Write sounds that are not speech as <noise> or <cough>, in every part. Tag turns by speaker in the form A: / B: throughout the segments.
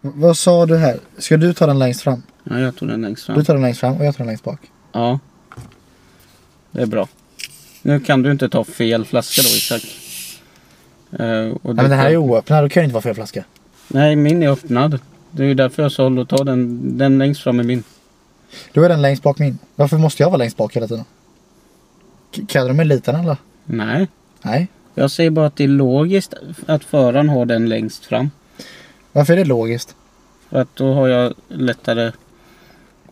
A: V- Vad sa du här? Ska du ta den längst fram?
B: Ja, jag tog den längst
A: Du
B: fram.
A: tar den längst fram och jag tar den längst bak.
B: Ja. Det är bra. Nu kan du inte ta fel flaska då Isak. Eh, och
A: Nej men den här är ju oöppnad, då kan det inte vara fel flaska.
B: Nej, min är öppnad. Det är ju därför jag sa håll och ta den, den längst fram i min.
A: Då är den längst bak min. Varför måste jag vara längst bak hela tiden? K- kallar du mig liten eller?
B: Nej.
A: Nej.
B: Jag säger bara att det är logiskt att föraren har den längst fram.
A: Varför är det logiskt?
B: För att då har jag lättare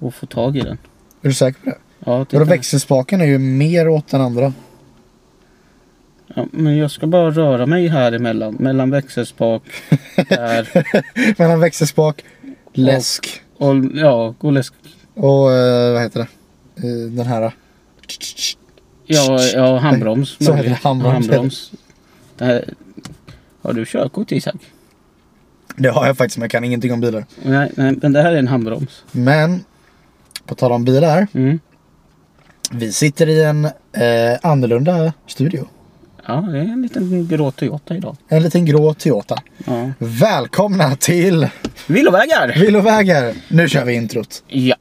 B: att få tag i den.
A: Är du säker på det?
B: Ja, titta
A: Vadå
B: här.
A: växelspaken är ju mer åt den <laughs> andra.
B: ja, men jag ska bara röra mig här emellan.
A: <laughs>
B: Mellan växelspak där.
A: Mellan växelspak, läsk
B: Och ja, gå och läsk.
A: och eh, vad heter det? Eh, den här.
B: Ja, ja handbroms.
A: Så heter det,
B: möjligt.
A: handbroms.
B: Det här. Har du körkort Isak?
A: Det har jag faktiskt men jag kan ingenting om bilar.
B: Nej, nej, men det här är en handbroms.
A: Men, på tal om bilar.
B: Mm.
A: Vi sitter i en eh, annorlunda studio.
B: Ja, det är en liten grå Toyota idag.
A: En liten grå Toyota.
B: Ja.
A: Välkomna till
B: Villovägar!
A: Villovägar! Nu kör vi introt.
B: Ja.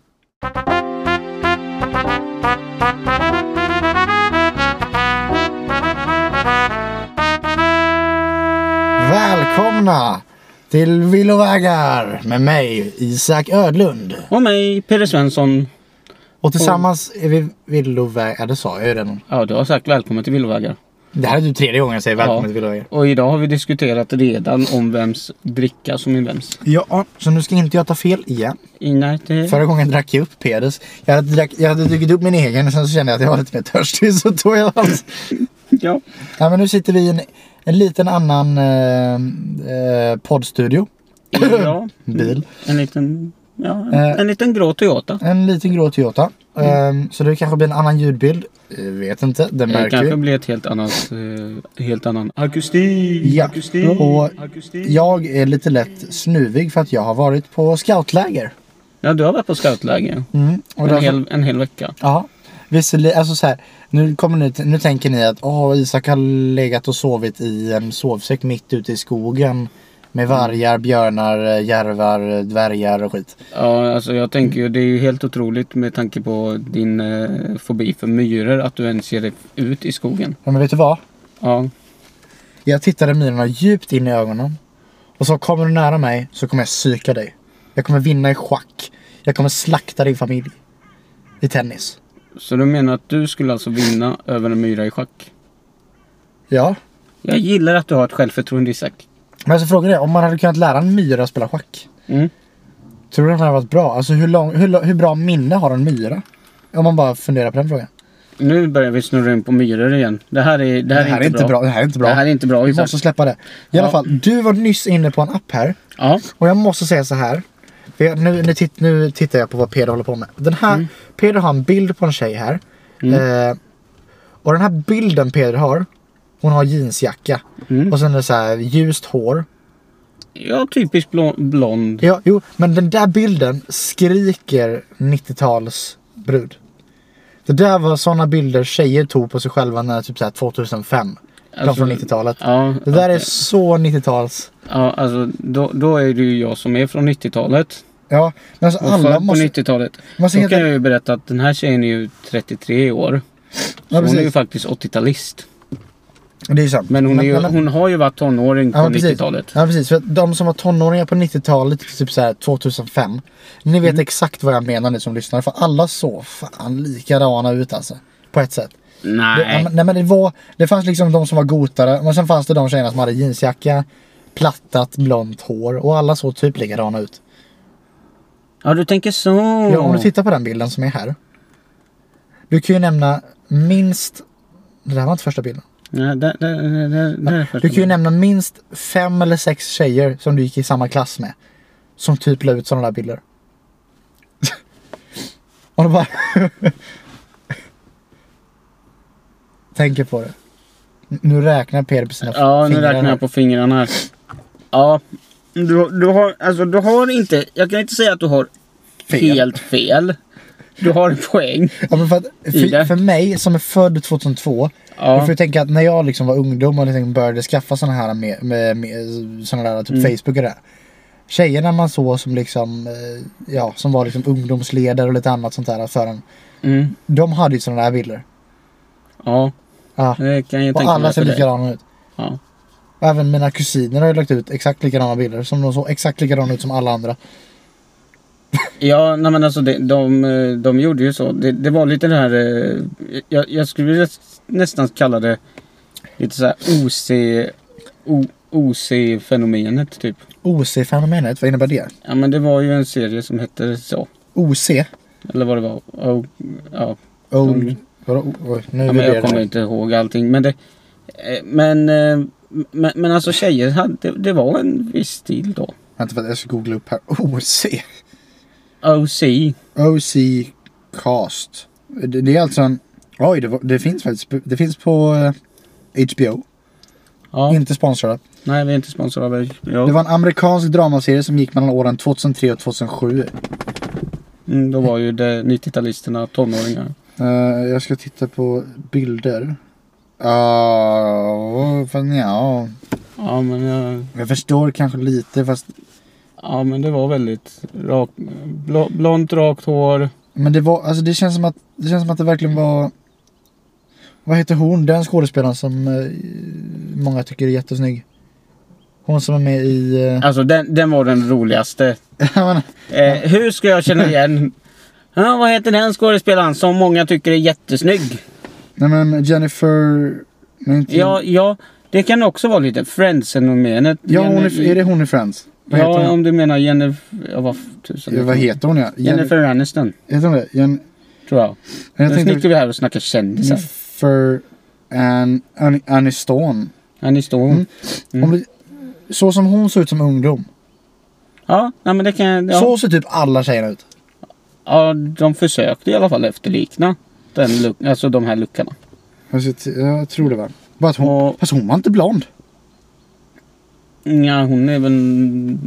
A: Välkomna till Villovägar med mig Isak Ödlund.
B: Och mig, Peder Svensson.
A: Och tillsammans är vi Villovägar. Ja, det sa jag ju redan.
B: Ja, du har sagt välkommen till Villovägar.
A: Det här är typ tredje gången jag säger välkommen
B: Ja.
A: till Villovägar.
B: Och idag har vi diskuterat redan om vems dricka som är vems.
A: Ja, så nu ska inte jag ta fel igen.
B: I- Nej, det...
A: Förra gången drack jag upp Peders. Jag hade, drack, jag hade druckit upp min egen och sen så kände jag att jag var lite mer törstig så tog jag hans. <coughs>
B: Ja.
A: Ja, men nu sitter vi i en, en liten annan eh, eh, poddstudio.
B: ja.
A: Bil.
B: En liten... Ja, en,
A: Eh.
B: en liten grå Toyota.
A: En liten grå Toyota. Ehm, så det kanske blir en annan ljudbild. Eh, vet inte, det
B: Det
A: märker
B: kanske
A: vi.
B: blir ett helt annat... Eh, helt annan akustik.
A: Ja,
B: akustik,
A: och
B: akustik. Ja.
A: jag är lite lätt snuvig för att jag har varit på scoutläger.
B: du har varit på scoutläger.
A: Mm. Och
B: En
A: därför,
B: hel, en hel vecka.
A: ja, visserligen, alltså så här, nu, kommer ni, nu tänker ni att åh, Isak har legat och sovit i en sovsäck mitt ute i skogen. Med vargar, björnar, eh, järvar, dvärgar och skit.
B: Ja, alltså jag tänker ju det är ju helt otroligt med tanke på din eh, fobi för myror att du ens ger dig ut i skogen.
A: Ja, men vet du vad?
B: Ja,
A: Jag tittade myrorna djupt in i ögonen. Och sa kommer du nära mig så kommer jag psyka dig. Jag kommer vinna i schack. Jag kommer slakta din familj. I tennis.
B: så du menar att du skulle alltså vinna över en myra i schack?
A: Ja.
B: Jag gillar att du har ett självförtroende Isak.
A: Men alltså frågan är, om man hade kunnat lära en myra att spela schack.
B: Mm.
A: Tror du den hade varit bra? Alltså hur, lång, hur, lång- hur bra minne har en myra? Om man bara funderar på den frågan.
B: Nu börjar vi snurra in på myror igen. Det här är, det här är, inte, bra.
A: Det här är inte bra.
B: Det här är inte bra
A: Vi
B: Isak.
A: måste släppa det. I alla
B: Ja.
A: fall, du var nyss inne på en app här.
B: Ja,
A: Och jag måste säga så här. För jag- Nu, nu, titt, nu tittar jag på vad Peder håller på med. Den här,
B: Mm.
A: Peder har en bild på en tjej här. Eh, och den här bilden Peder har. Hon har jeansjacka.
B: Mm.
A: Och sen är det så här ljust hår.
B: ja typiskt blå- blond.
A: Ja, jo, men den där bilden skriker 90-talsbrud. Det där var sådana bilder tjejer tog på sig själva när typ så här 2005. de
B: Alltså,
A: från 90-talet.
B: Ja,
A: det där är
B: okej.
A: så 90-tals.
B: Ja, alltså då, då är det ju jag som är från 90-talet.
A: Ja, men alltså
B: Och
A: alla
B: född
A: måste... Alltså,
B: på 90-talet. Då
A: måste
B: kan
A: heta-
B: jag ju berätta att den här tjejen är ju 33 år.
A: Ja,
B: hon är ju
A: precis.
B: faktiskt 80-talist.
A: Det är ju sant.
B: Men hon, är ju,
A: men-
B: hon har ju varit tonåring på
A: Ja, men precis.
B: 90-talet.
A: Ja precis, för att de som var tonåringar på 90-talet, typ så här 2005. Ni vet exakt vad jag menar ni som lyssnar, för alla såg fan likadana ut alltså. På ett sätt. Det, ja,
B: Nej.
A: men- nej men det var, det fanns liksom de som var gotare, men sen fanns det de tjejerna som hade jeansjacka, plattat blont hår och alla såg typ likadana ut.
B: Ja, du tänker så.
A: Ja,
B: Mm.
A: om du tittar på den bilden som är här. Du kan ju nämna minst, det där var inte första bilden.
B: Nej, där, där, där, där, där är
A: Du
B: första
A: kan ju
B: bilden.
A: nämna minst fem eller sex tjejer som du gick i samma klass med. Som typ la ut sådana där bilder. <laughs> Och du bara... <laughs> Tänker på det. Nu räknar Peder på sina
B: Ja, nu
A: fingrar
B: räknar
A: här.
B: jag på fingrarna här. Ja. Du, du, har, alltså, du har inte... Jag kan inte säga att du har
A: Fel.
B: helt fel. Du har en poäng.
A: Ja, men för, att,
B: I
A: för,
B: det.
A: för mig som är född 2002.
B: Ja.
A: Du får ju tänka att när jag
B: Mm.
A: liksom var ungdom och liksom började skaffa sådana här med, med, med såna där typ Facebook och det där. tjejerna man såg som liksom, eh, ja, som var liksom ungdomsledare och lite annat sånt där för en.
B: Mm.
A: De hade ju sådana där bilder.
B: Ja,
A: Ja.
B: det kan jag
A: Och
B: tänka
A: alla
B: mig
A: ser
B: för dig.
A: likadana ut.
B: Ja.
A: Och även mina kusiner har ju lagt ut exakt likadana bilder. Som de såg exakt likadana ut som alla andra.
B: Ja, nej men alltså det, de, eh, de gjorde ju så. Det, det var lite det här, eh, jag, jag skulle vilja s- nästan kalla det lite så här OC, o, OC-fenomenet typ.
A: OC-fenomenet, vad innebär det?
B: Ja men det var ju en serie som hette så.
A: OC?
B: Eller vad det var. O, ja,
A: Old...
B: Mm.
A: Vadå? O- Oj, nu
B: ja
A: är
B: men
A: vi
B: jag kommer
A: det.
B: inte ihåg allting. Men, det, eh, men, eh, men, men alltså tjejer hade, det var en viss stil då.
A: Vänta, vänta, jag ska googla upp här. OC?
B: OC.
A: OC Cast. Det, det är alltså en... Oj, det, var- det finns faktiskt. Det finns på eh, HBO.
B: Ja,
A: Inte sponsrade.
B: nej vi är inte sponsrade av
A: Det
B: ja.
A: var en amerikansk dramaserie som gick mellan åren 2003 och 2007.
B: mm, Då var ju det 90-talisterna tonåringar.
A: Eh, jag ska titta på bilder. Uh, fan, ja.
B: Ja men jag...
A: Jag förstår kanske lite fast...
B: Ja men det var väldigt rak, bl- blont rakt hår.
A: Men det var, alltså det känns som att det, känns som att det verkligen var... Vad heter hon, den skådespelaren som eh, många tycker är jättesnygg? Hon som är med i... eh, <laughs>
B: Alltså den, den var den roligaste.
A: ja, men-
B: Eh, hur ska jag känna igen? <laughs> Ja, vad heter den skådespelaren som många tycker är jättesnygg?
A: nej men Jennifer... Nej, inte,
B: Ja, ja det kan också vara lite Friends-fenomenet.
A: ja hon är,
B: Jenny-
A: är det hon i Friends? Vad
B: ja,
A: heter hon?
B: om du menar Jennifer... Ja, vad f- tusan
A: Ja, vad heter hon ja?
B: Jennifer Aniston,
A: Heter hon det? Jen,
B: tror jag.
A: jag
B: nu
A: tänkte Mm.
B: sitter vi här och snackar kändisar.
A: Jennifer An, An, Aniston.
B: Aniston.
A: Mm. Om det- så som hon såg ut som ungdom.
B: Ja, nej, men det kan... Ja.
A: Så ser typ alla tjejerna ut.
B: ja, de försökte i alla fall efterlikna den luck- alltså de här luckorna.
A: Alltså, t- jag tror det var. Bara att hon,
B: Och-
A: Fast hon var inte blond.
B: Ja, hon är väl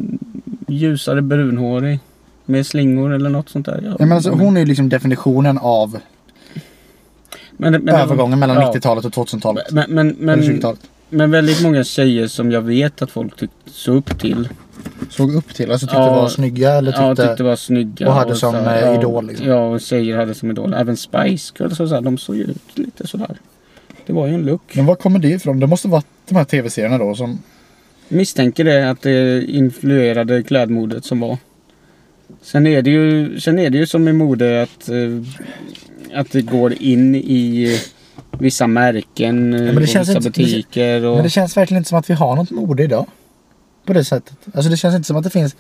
B: ljusare brunhårig. Med slingor eller något sånt där. Ja,
A: Ja, men alltså, hon är ju liksom definitionen av
B: Men- men-
A: övergången mellan
B: ja.
A: 90-talet och 2000-talet.
B: Men, men,
A: Eller
B: men,
A: 20-talet.
B: men väldigt många tjejer som jag vet att folk tyckte så upp till.
A: Såg upp till, alltså tyckte
B: Ja.
A: var snygga eller
B: ja,
A: tyckte...
B: tyckte var snygga.
A: och hade som,
B: så här,
A: eh,
B: ja,
A: idol, liksom.
B: Ja, och tjejer hade som idol. Även Spice Girls och så här, de såg ju ut lite sådär. Det var ju en look.
A: Men var kommer det ifrån? Det måste vara de här tv-serierna då som...
B: Misstänker det att det influerade klädmodet som var. Sen är det ju, sen är det ju som i mode att, eh, att det går in i vissa märken eh,
A: men det
B: och
A: känns
B: vissa
A: inte- det kän-
B: butiker. Och,
A: Men det känns verkligen inte som att vi har något mode idag. På det sättet. Alltså det känns inte som att det finns...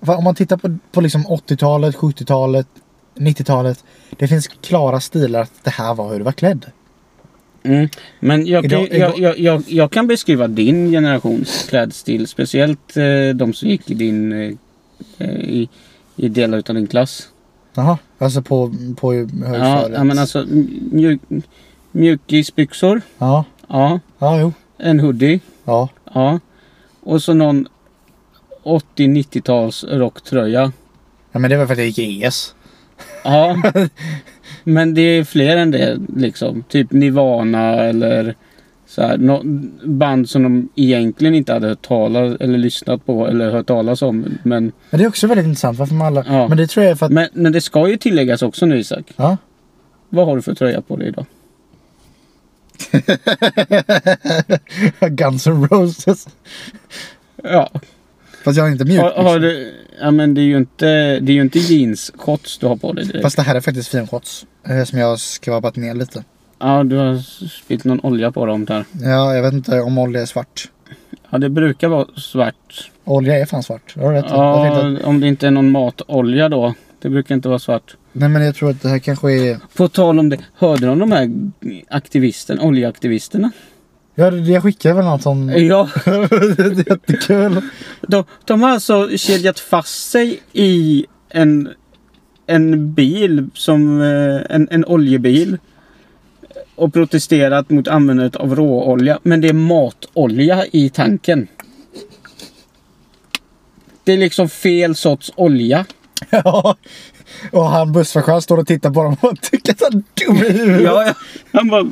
A: För Om man tittar på, på liksom 80-talet, 70-talet, 90-talet. Det finns klara stilar att det här var hur du var klädd.
B: mm. men jag, kan-
A: Idag-
B: jag, jag, jag, jag kan beskriva din generations klädstil. Speciellt eh, de som gick i din... eh, Eh, i, i delar utav din klass.
A: Jaha, alltså på, på
B: Ja,
A: högstadiet.
B: ja, men alltså mjuk, mjukisbyxor.
A: Ja,
B: Ja.
A: ja jo.
B: En hoodie.
A: Ja.
B: Ja. Och så någon 80-90-tals rocktröja.
A: ja, men det var för att jag gick i E ES.
B: Ja. Men det är fler än det liksom. Typ Nirvana eller så här, nå- band som de egentligen inte hade hört talas eller lyssnat på eller hört talas om. Men,
A: Men det är också väldigt intressant varför man alla...
B: Ja.
A: Men det tror jag är för att...
B: men, men det ska ju tilläggas också nu Isak.
A: Ja. <laughs>
B: Vad har du för tröja på dig idag?
A: Guns N' Roses.
B: Ja,
A: Fast jag är inte mjuk. liksom.
B: har, har du, ja men det är ju inte, det är ju inte jeansshorts du har på dig direkt.
A: Fast det här är faktiskt finshots. eh, Som jag har skrapat ner lite.
B: Ja, du har spillt någon olja på dem där.
A: Ja, jag vet inte om olja är svart.
B: Ja, det brukar vara svart
A: Olja är fan svart. Har du rätt? Jag tänkte att...
B: Ja, om det inte är någon matolja då. Det brukar inte vara svart.
A: Nej men jag tror att det här kanske är...
B: På tal om det, hörde du om de här aktivisterna, oljeaktivisterna?
A: Ja, det- jag skickar väl något om...
B: Ja,
A: <laughs> det är jättekul.
B: de, de har alltså kedjat fast sig i en, en bil, som eh, en, en oljebil. Och protesterat mot användandet av råolja. Men det är matolja i tanken. Det är liksom fel sorts olja.
A: ja. Och han bussföraren står och tittar på dem och tycker att han är dum i huvudet.
B: Ja, ja. Han bara...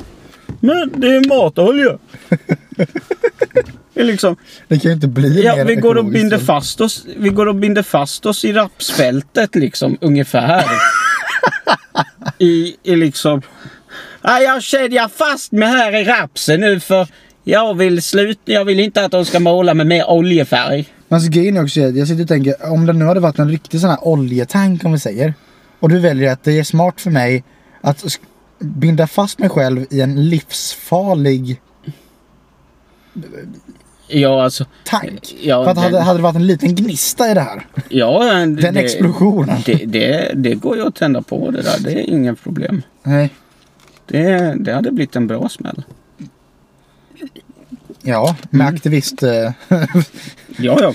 B: Men det är matolja. Det är liksom,
A: Det kan ju inte bli
B: ja,
A: mer
B: vi, går och
A: ekologiskt.
B: binder fast oss, vi går och binder fast oss i rapsfältet liksom, ungefär. I, I liksom... Ja, jag kedjar fast mig här i rapsen nu för jag vill sluta. Jag vill inte att de ska måla med mer oljefärg.
A: Men alltså grejen är också, jag sitter och tänker, om det nu hade varit en riktig sån här oljetank om vi säger. Och du väljer att det är smart för mig att sk- binda fast mig själv i en livsfarlig
B: Ja, alltså...
A: tank.
B: Ja,
A: för att hade,
B: den-
A: hade det varit en liten gnista i det här.
B: Ja, den
A: Den explosionen.
B: Det, det, det går ju att tända på det där. Det är inga problem.
A: Nej.
B: Det, det hade blivit en bra smäll.
A: Ja, med
B: Mm.
A: aktivist, eh, <laughs>
B: Ja, ja.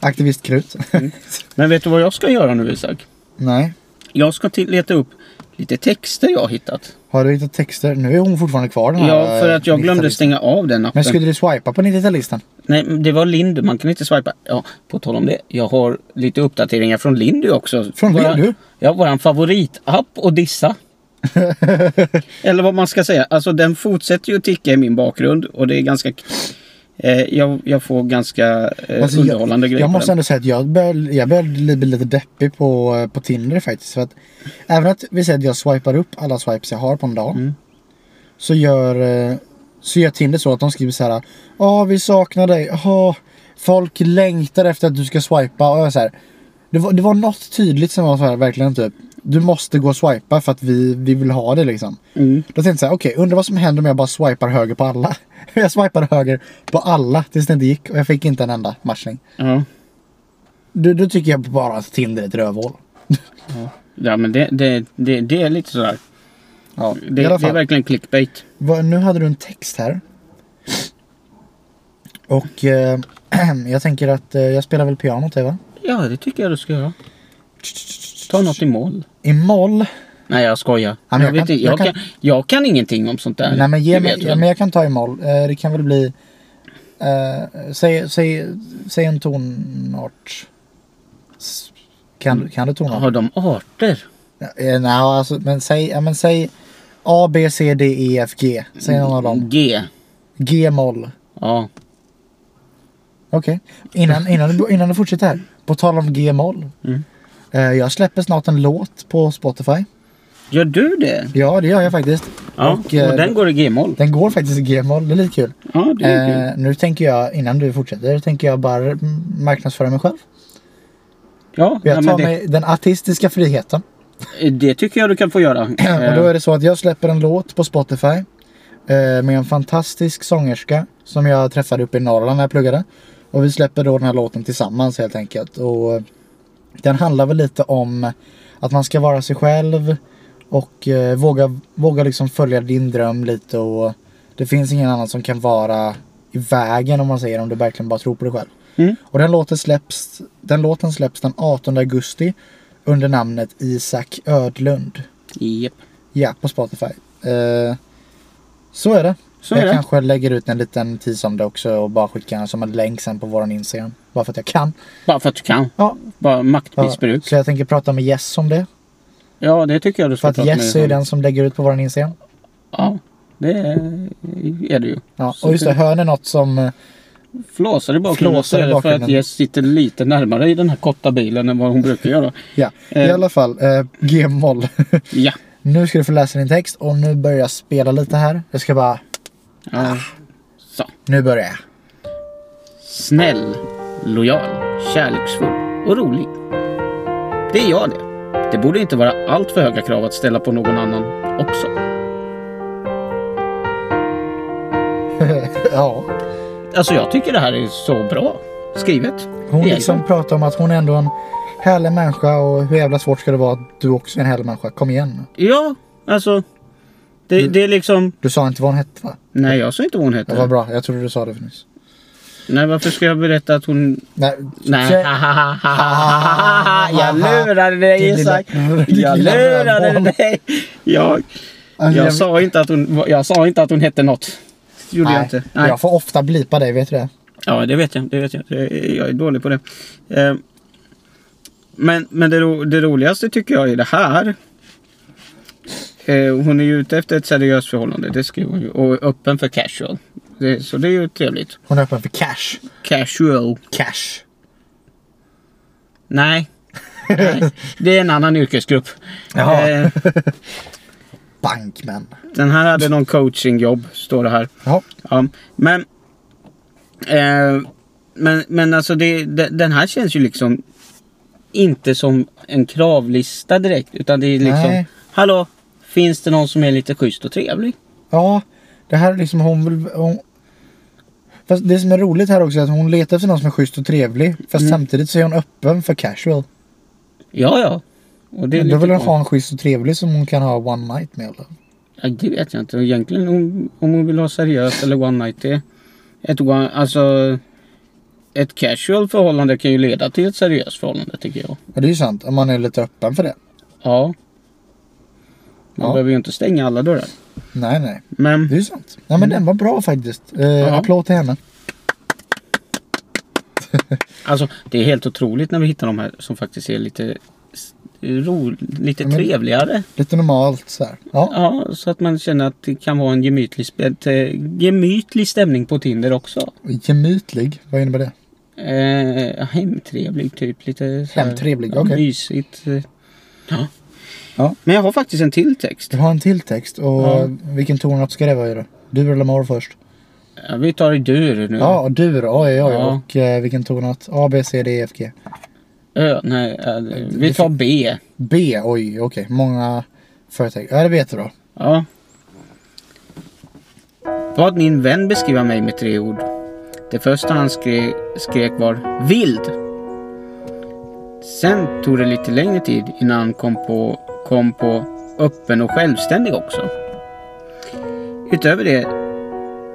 A: aktivistkrut.
B: Mm. Men vet du vad jag ska göra nu Isak?
A: <laughs> Nej.
B: Jag ska till, leta upp lite texter jag har hittat.
A: Har du hittat texter? Nu är hon fortfarande kvar den här,
B: Ja, för att jag
A: eh,
B: glömde
A: 90-talisten.
B: stänga av den appen.
A: Men skulle du swipa på 90-talistan?
B: Nej, men det var Lindy. Man kan inte swipa. Ja, på tal om det. Jag har lite uppdateringar från Lindy också.
A: Från
B: Våra-
A: Lindy?
B: Ja, våran favoritapp
A: <laughs>
B: och dissa. Eller vad man ska säga. Alltså den fortsätter ju ticka i min bakgrund och det är ganska... Eh, jag, jag får ganska eh,
A: Alltså, jag-
B: underhållande grejer
A: Jag
B: på
A: måste
B: den.
A: ändå säga att jag började, jag började bli bli lite deppig på, på Tinder faktiskt. För att, även att vi säger att jag swipar upp alla swipes jag har på en dag.
B: Mm.
A: Så, gör, eh, så gör Tinder så att de skriver så här. Ja, vi saknar dig. Åh, folk längtar efter att du ska swipa. Och jag så här, det, var, det var något tydligt som var så här, verkligen typ. Du måste gå och swipa för att vi, vi vill ha det liksom.
B: Mm.
A: Då tänkte jag så här, okej, undrar vad som händer om jag bara swipar höger på alla. <laughs> jag swipade höger på alla tills det inte gick och jag fick inte en enda matchning.
B: Ja.
A: Då, då tycker jag bara att Tinder är ett rövhål.
B: ja, men det, det, det, det är lite sådär.
A: Ja,
B: Det,
A: i alla
B: det är
A: fall.
B: verkligen clickbait.
A: Vad- Nu hade du en text här. Och eh, <clears throat> jag tänker att eh, jag spelar väl pianot här va?
B: Ja, det tycker jag du ska göra. Ta något i mål.
A: I moll.
B: Nej, jag skojar.
A: men
B: jag,
A: jag
B: vet
A: kan-
B: inte, jag,
A: jag
B: kan,
A: kan-
B: jag kan ingenting om sånt där.
A: Nej men ge
B: Det
A: mig,
B: vet du
A: ja,
B: väl?
A: men jag kan ta i moll. Eh, det kan väl bli... Eh, säg, säg, säg en tonart. S- Kan, du- kan du tonart?
B: Har de arter?
A: Ja, eh, Nej, alltså, men säg, ja, men säg A, B, C, D, E, F, G. Säg någon av dem.
B: G.
A: G moll.
B: Ja.
A: Okej. Innan, innan, du- innan du fortsätter här. På tal om G moll.
B: Mm.
A: Eh, jag släpper snart en låt på Spotify.
B: Gör du det?
A: Ja, det gör jag faktiskt.
B: Ja, och,
A: Och, eh,
B: den går i G-moll.
A: Den går faktiskt i G moll. Det är lite kul.
B: Ja, det är kul.
A: Eh, nu tänker jag, innan du fortsätter, tänker jag bara mm, marknadsföra mig själv.
B: Ja, nej,
A: Jag
B: men
A: tar
B: det, eh,
A: mig den artistiska friheten.
B: det tycker jag du kan få
A: <clears throat>
B: göra.
A: Och då
B: Eh,
A: är det så att jag släpper en låt på Spotify. eh, Med en fantastisk sångerska som jag träffade uppe i Norrland när jag pluggade. Och vi släpper då den här låten tillsammans helt enkelt. Och eh, den handlar väl lite om att man ska vara sig själv. Och eh, våga, våga liksom följa din dröm lite och det finns ingen annan som kan vara i vägen om man säger om du verkligen bara tror på dig själv.
B: Mm.
A: Och den låten släpps, den låten släpps den 18 augusti under namnet Isak Ödlund.
B: Japp.
A: Ja, på Spotify. Eh, så är det.
B: Så
A: jag
B: är det.
A: kanske lägger ut en liten tease om det också och bara skickar den som en länk sen på våran Instagram. Bara för att jag kan.
B: Bara för att du kan.
A: Ja,
B: Bara
A: ja.
B: maktmissbruk.
A: Så jag tänker prata med Jess om det.
B: Ja, det tycker jag du
A: För
B: ska
A: att
B: prata med
A: Jess är ju
B: honom.
A: den som lägger ut på våran Instagram.
B: Ja, det är, är det ju.
A: Ja,
B: Så
A: och just det, hör ni något som... eh,
B: Flåsar i bakgrunden så
A: Flåsar i
B: är det för att
A: bakgrunden.
B: Jess sitter lite närmare i den här korta bilen än vad hon brukar göra.
A: Ja, i
B: Eh.
A: alla fall. Eh, G-moll. <laughs>
B: Ja.
A: nu ska du få läsa din text och nu börjar jag spela lite här. Jag ska bara...
B: ja. Så.
A: Nu börjar jag.
B: Snäll, lojal, kärleksfull och rolig. Det är jag det. Det borde inte vara allt för höga krav att ställa på någon annan också.
A: ja.
B: Alltså jag tycker det här är så bra skrivet.
A: Hon
B: Egentligen.
A: liksom pratar om att hon är ändå en härlig människa och hur jävla svårt ska det vara att du också är en härlig människa. Kom igen nu.
B: Ja, alltså. Det, det är liksom...
A: Du sa inte vad hon hette va?
B: Nej, jag sa inte vad hon
A: Det var
B: heter.
A: bra, jag trodde du sa det för nyss.
B: Nej, varför ska jag berätta att hon...
A: Nej.
B: <laughs> Nej.
A: tjej-
B: jag lurade dig
A: Din lilla-
B: Isak.
A: din
B: Jag
A: lilla
B: lurade
A: rövhål.
B: dig. Jag,
A: Alltså,
B: jag, sa inte att hon, jag sa inte att hon hette något. Det gjorde jag
A: nej,
B: inte. Nej.
A: Jag får ofta blipa dig, vet du det?
B: Ja, det vet jag. Det vet jag. Det- Jag är dålig på det. Eh, Men, men det, ro, det roligaste tycker jag är det här. Ehm, Eh, Hon är ju ute efter ett seriöst förhållande. Det skriver hon ju. Och är öppen för casual. Det, så det är ju trevligt.
A: Hon är öppen för cash.
B: Casual.
A: Cash.
B: Nej. Nej. Det är en annan yrkesgrupp.
A: Jaha.
B: Eh,
A: Bankmän.
B: den här hade någon coachingjobb, står det här.
A: Ja.
B: Ja, men, eh, men, men alltså det, de- den här känns ju liksom inte som en kravlista direkt. Utan det är liksom,
A: Nej.
B: hallå, finns det någon som är lite schysst och trevlig?
A: Ja, det här är liksom hon vill... Hon... Fast det som är roligt här också är att hon letar efter någon som är schysst och trevlig. Fast
B: Mm.
A: samtidigt så är hon öppen för casual.
B: Ja, ja. Och det är
A: Men då
B: lite
A: vill hon
B: konstigt.
A: ha en schysst och trevlig som hon kan ha one night med. Eller?
B: Ja, det vet jag inte. Egentligen om, om hon vill ha seriöst eller one night det. Ett, one, alltså, ett casual förhållande kan ju leda till ett seriöst förhållande tycker jag.
A: Ja, det är ju sant. Om man är lite öppen för det.
B: Ja. Man
A: Ja.
B: behöver ju inte stänga alla dörrar.
A: Nej, nej.
B: Men
A: Det är ju sant. Ja, men
B: Mm.
A: den var bra faktiskt. Eh, Applåd till henne.
B: alltså det är helt otroligt när vi hittar de här som faktiskt är lite s- ro, lite
A: men-
B: trevligare.
A: Lite normalt så här. Ja,
B: Ja, så att man känner att det kan vara en gemytlig, sp- ett, eh, gemytlig stämning på Tinder också.
A: gemytlig. Vad innebär det?
B: Eh, hemtrevlig typ. Lite så här-
A: Hemtrevlig,
B: ja,
A: okej.
B: Mysigt. eh. Ja.
A: Ja.
B: Men jag har faktiskt en till text.
A: Du har en till text och
B: Ja.
A: vilken tonart ska det vara i då? Dur eller moll först?
B: Ja, Vi tar i dur nu.
A: Ja, och dur. Oj, oj, oj.
B: Mm. Ja.
A: Och eh, vilken tonart? A, B, C, D, E, F, G.
B: Ö, nej, eh, vi tar B.
A: B, oj, okej. Många företag. Ja, det vet du då.
B: Ja. Vad min vän beskriver mig med tre ord. Det första han skrek, skrek var vild. Sen tog det lite längre tid innan han kom på, kom på öppen och självständig också. Utöver det,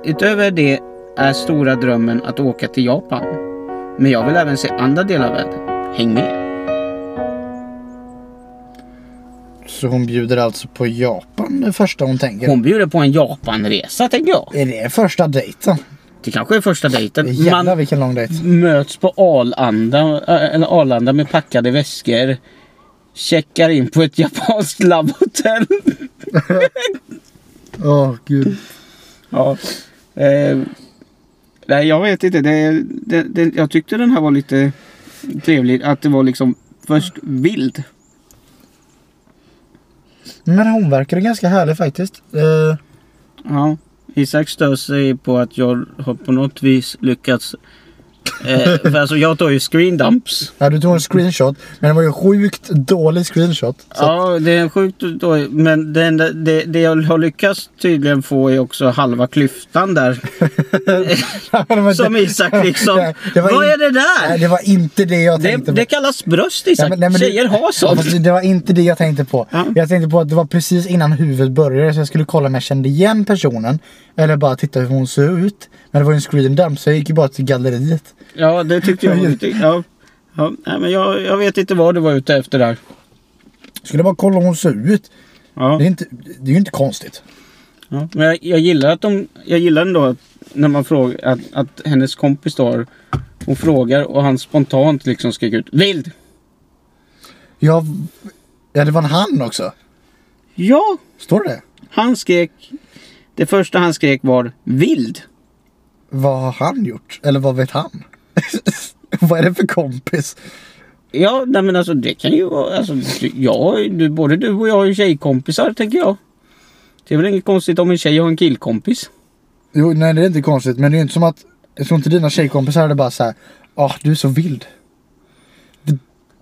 B: utöver det är stora drömmen att åka till Japan. Men jag vill även se andra delar av världen. Häng med!
A: Så hon bjuder alltså på Japan det första hon tänker.
B: Hon bjuder på en Japanresa tänker jag.
A: Är det första dejten?
B: Det kanske är första dejten.
A: Jävlar
B: Man-
A: vilken lång dejt.
B: möts på Arlanda, äh, eller Arlanda med packade väskor. Checkar in på ett japanskt labbhotell.
A: Åh gud.
B: Ja. Eh, nej, jag vet inte. Det, det, det, jag tyckte den här var lite trevlig. Att det var liksom först vild.
A: Men hon verkar ganska härlig faktiskt. Eh,
B: Ja. Isak stör sig på att jag har på något vis lyckats. Eh, för alltså jag tar ju screen dumps.
A: ja, du tog en screenshot. Men det var ju en sjukt dålig screenshot. Så <laughs>
B: Ja, det är sjukt då, men det, enda, det, det jag har lyckats tydligen få är också halva
A: <laughs>
B: klyftan där.
A: det var inte-
B: Som Isak liksom.
A: Nej, det var
B: Vad
A: in-
B: är det där?
A: Nej, det var inte det jag
B: det,
A: tänkte
B: det
A: på.
B: kallas bröst
A: Nej,
B: Isak.
A: men- nej, men det-
B: Tjejer har
A: Ja,
B: sånt.
A: fast det var inte det jag tänkte på.
B: Ja.
A: Jag tänkte på att det var precis innan huvudet började så jag skulle kolla om jag kände igen personen. Eller bara titta hur hon såg ut. Men det var ju en screen dump så jag gick ju bara till galleriet.
B: Ja, det
A: <laughs>
B: tyckte jag. var lite- Ja. Ja, nej, men jag, jag vet inte vad du var ute efter där.
A: Skulle bara kolla hur hon såg ut.
B: Ja.
A: Det är, inte, det är ju inte konstigt.
B: Ja. Men jag, jag gillar att de, jag gillar ändå att, när man frågar, att, att hennes kompis då har- hon frågar och han spontant liksom skrek ut vild.
A: Jag, ja, det var en han också.
B: Ja,
A: Står det
B: han skrek. Det första han skrek var vild.
A: Vad har han gjort? Eller vad vet han? <laughs> vad är det för kompis?
B: Ja, nej, men alltså det kan ju vara... Alltså, du- ja, du, både du och jag har ju tjejkompisar, tänker jag. Det är väl inget konstigt om en tjej har en killkompis.
A: Jo, nej det är inte konstigt. Men det är ju inte som att, jag tror inte dina tjejkompisar hade bara så här. ah du är så vild. Det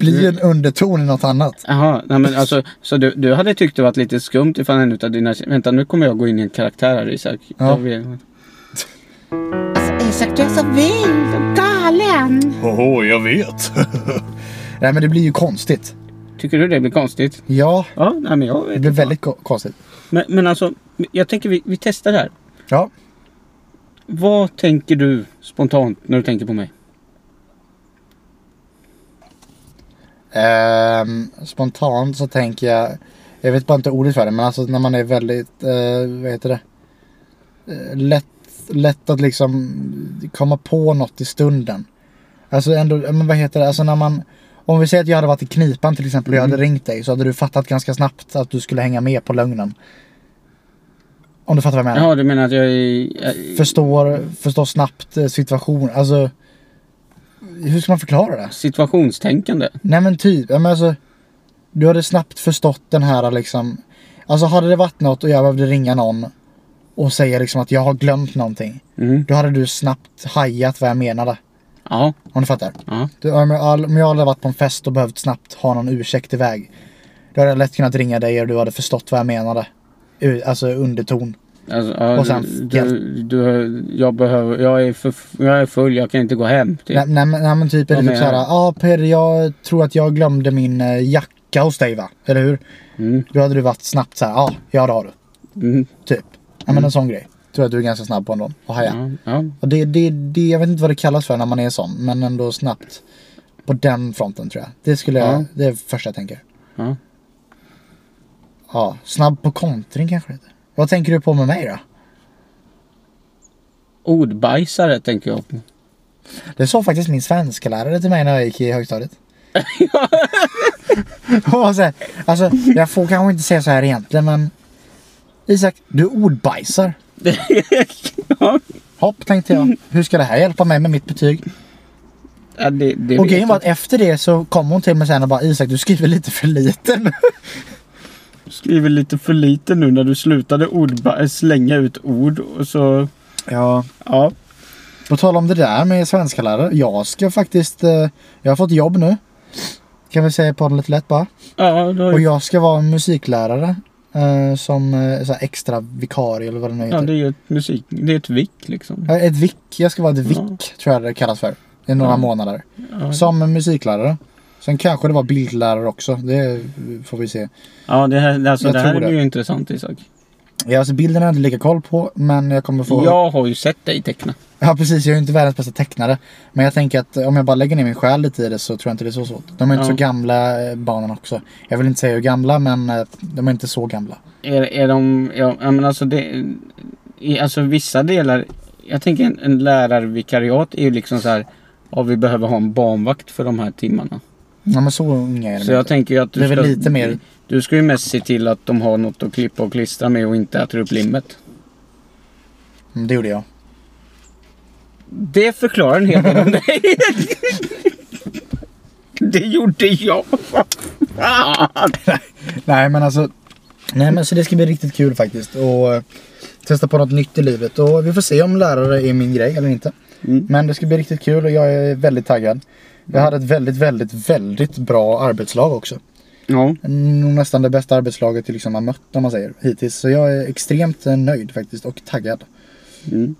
A: blir ju en underton i något annat.
B: Jaha, nej men alltså, så du, du hade tyckt det varit lite skumt ifall en utav dina tjej- Vänta, nu kommer jag gå in i en karaktär här Isak.
A: Ja.
B: Jag vet- Alltså Isak, du är så vild och galen.
A: Åh, jag vet. <laughs> nej men det blir ju konstigt.
B: Tycker du det blir konstigt?
A: Ja,
B: Ja, nej men jag
A: det
B: vet
A: blir
B: inte.
A: väldigt ko- konstigt.
B: Men, men alltså, jag tänker vi, vi testar det här.
A: Ja,
B: Vad tänker du spontant när du tänker på mig?
A: Ehm, spontant så tänker jag, jag vet bara inte ordet för det, men alltså när man är väldigt, eh, vad heter det, Eh, lätt, lätt att liksom komma på något i stunden. Alltså ändå, ja, men vad heter det, alltså när man, om vi säger att jag hade varit i knipan till exempel och jag hade ringt dig så hade du fattat ganska snabbt att du skulle hänga med på lögnen. Om du fattar vad jag menar.
B: Jaha, du menar att jag är... jag-
A: Förstår, förstår snabbt eh, situation. Alltså. Hur ska man förklara det?
B: Situationstänkande?
A: Nej men typ, ja, men alltså, du hade snabbt förstått den här liksom. Alltså hade det varit något och jag behövde ringa någon och säga liksom att jag har glömt någonting.
B: Mm.
A: Då hade du snabbt hajat vad jag menade.
B: Ja.
A: Om du fattar.
B: ja.
A: Du, om, jag, om jag hade varit på en fest och behövt snabbt ha någon ursäkt iväg. Då hade jag lätt kunnat ringa dig och du hade förstått vad jag menade. U- Alltså underton.
B: Alltså, ja,
A: Och sen-
B: du, du, jag, behöver, jag, är för, jag är full, jag kan inte gå hem. Typ.
A: Nej, nej, men- nej men typ är det
B: Vad
A: typ
B: menar
A: såhär,
B: du?
A: ja ah, Per jag tror att jag glömde min eh, jacka hos dig va? Eller hur?
B: Mm.
A: Då hade du varit snabbt såhär, ja ah, ja det har du.
B: Mm.
A: Typ. Ja men en sån grej. Tror att du är ganska snabb på ändå. Och haja.
B: Ja, ja.
A: Och det, det, det, jag vet inte vad det kallas för när man är sån. Men ändå snabbt. På den fronten tror jag. Det skulle jag,
B: Ja.
A: det är det första jag tänker.
B: Ja.
A: Ja, snabb på kontring kanske det heter. Vad tänker du på med mig då?
B: Ordbajsare tänker jag på.
A: Det sa faktiskt min svenska lärare till mig när jag gick i högstadiet. Hon var så här, alltså, jag får kanske inte säga så här egentligen men Isak, du ordbajsar.
B: Ja.
A: Hopp tänkte jag. Hur ska det här hjälpa mig med mitt betyg?
B: Ja, det, det
A: Och
B: vet
A: grejen
B: jag
A: var att efter det så kom hon till mig sen och bara Isak du skriver lite för lite nu.
B: Du skriver lite för lite nu när du slutade ordba- eh, slänga ut ord och så...
A: Ja.
B: Ja.
A: På tal om det där med svenska lärare. Jag ska faktiskt, eh, jag har fått jobb nu. Kan vi säga på det lite lätt bara.
B: Ja, då,
A: Och jag ska vara musiklärare. eh, som eh, så här extra vikarie eller vad det nu
B: ja,
A: heter.
B: det är ju ett musik... Det är ett vick liksom.
A: Ja, Ett vick. Jag ska vara ett vick
B: Ja.
A: tror jag det kallas för. I några månader.
B: Ja,
A: Som en musiklärare. Sen kanske det var bildlärare också. Det får vi se.
B: ja det här, alltså,
A: Jag
B: det här
A: tror det.
B: blir ju intressant Isak.
A: Ja, alltså bilden har jag inte lika koll på. Men jag kommer få...
B: Jag har ju sett dig teckna.
A: <laughs> Ja, precis. Jag är ju inte världens bästa tecknare. Men jag tänker att om jag bara lägger ner min själ lite i det så tror jag inte det är så svårt. De är inte
B: Ja.
A: så gamla eh, barnen också. Jag vill inte säga hur gamla men eh, de är inte så gamla.
B: Är, är de... Ja, ja, men alltså det... I, alltså vissa delar... Jag tänker en, en lärarvikariat är ju liksom så här... Ja, vi behöver ha en barnvakt för de här timmarna.
A: Ja, men så unga är de
B: Så jag
A: inte.
B: tänker ju att du
A: Det är väl lite mer-
B: Du ska ju mest se till att de har något att klippa och klistra med och inte äter upp limmet.
A: Mm, Det gjorde jag.
B: Det förklarar en hel del om dig. <laughs> Det gjorde jag. <laughs> Fan.
A: Nej, men alltså. Nej, men så det ska bli riktigt kul faktiskt. Och eh, testa på något nytt i livet. Och vi får se om lärare är min grej eller inte.
B: Mm.
A: Men det ska bli riktigt kul och jag är väldigt taggad. Jag hade ett väldigt, väldigt, väldigt bra arbetslag också.
B: Ja,
A: Nog nästan det bästa arbetslaget jag liksom har mött om man säger hittills. Så jag är extremt eh, nöjd faktiskt och taggad.
B: Mm.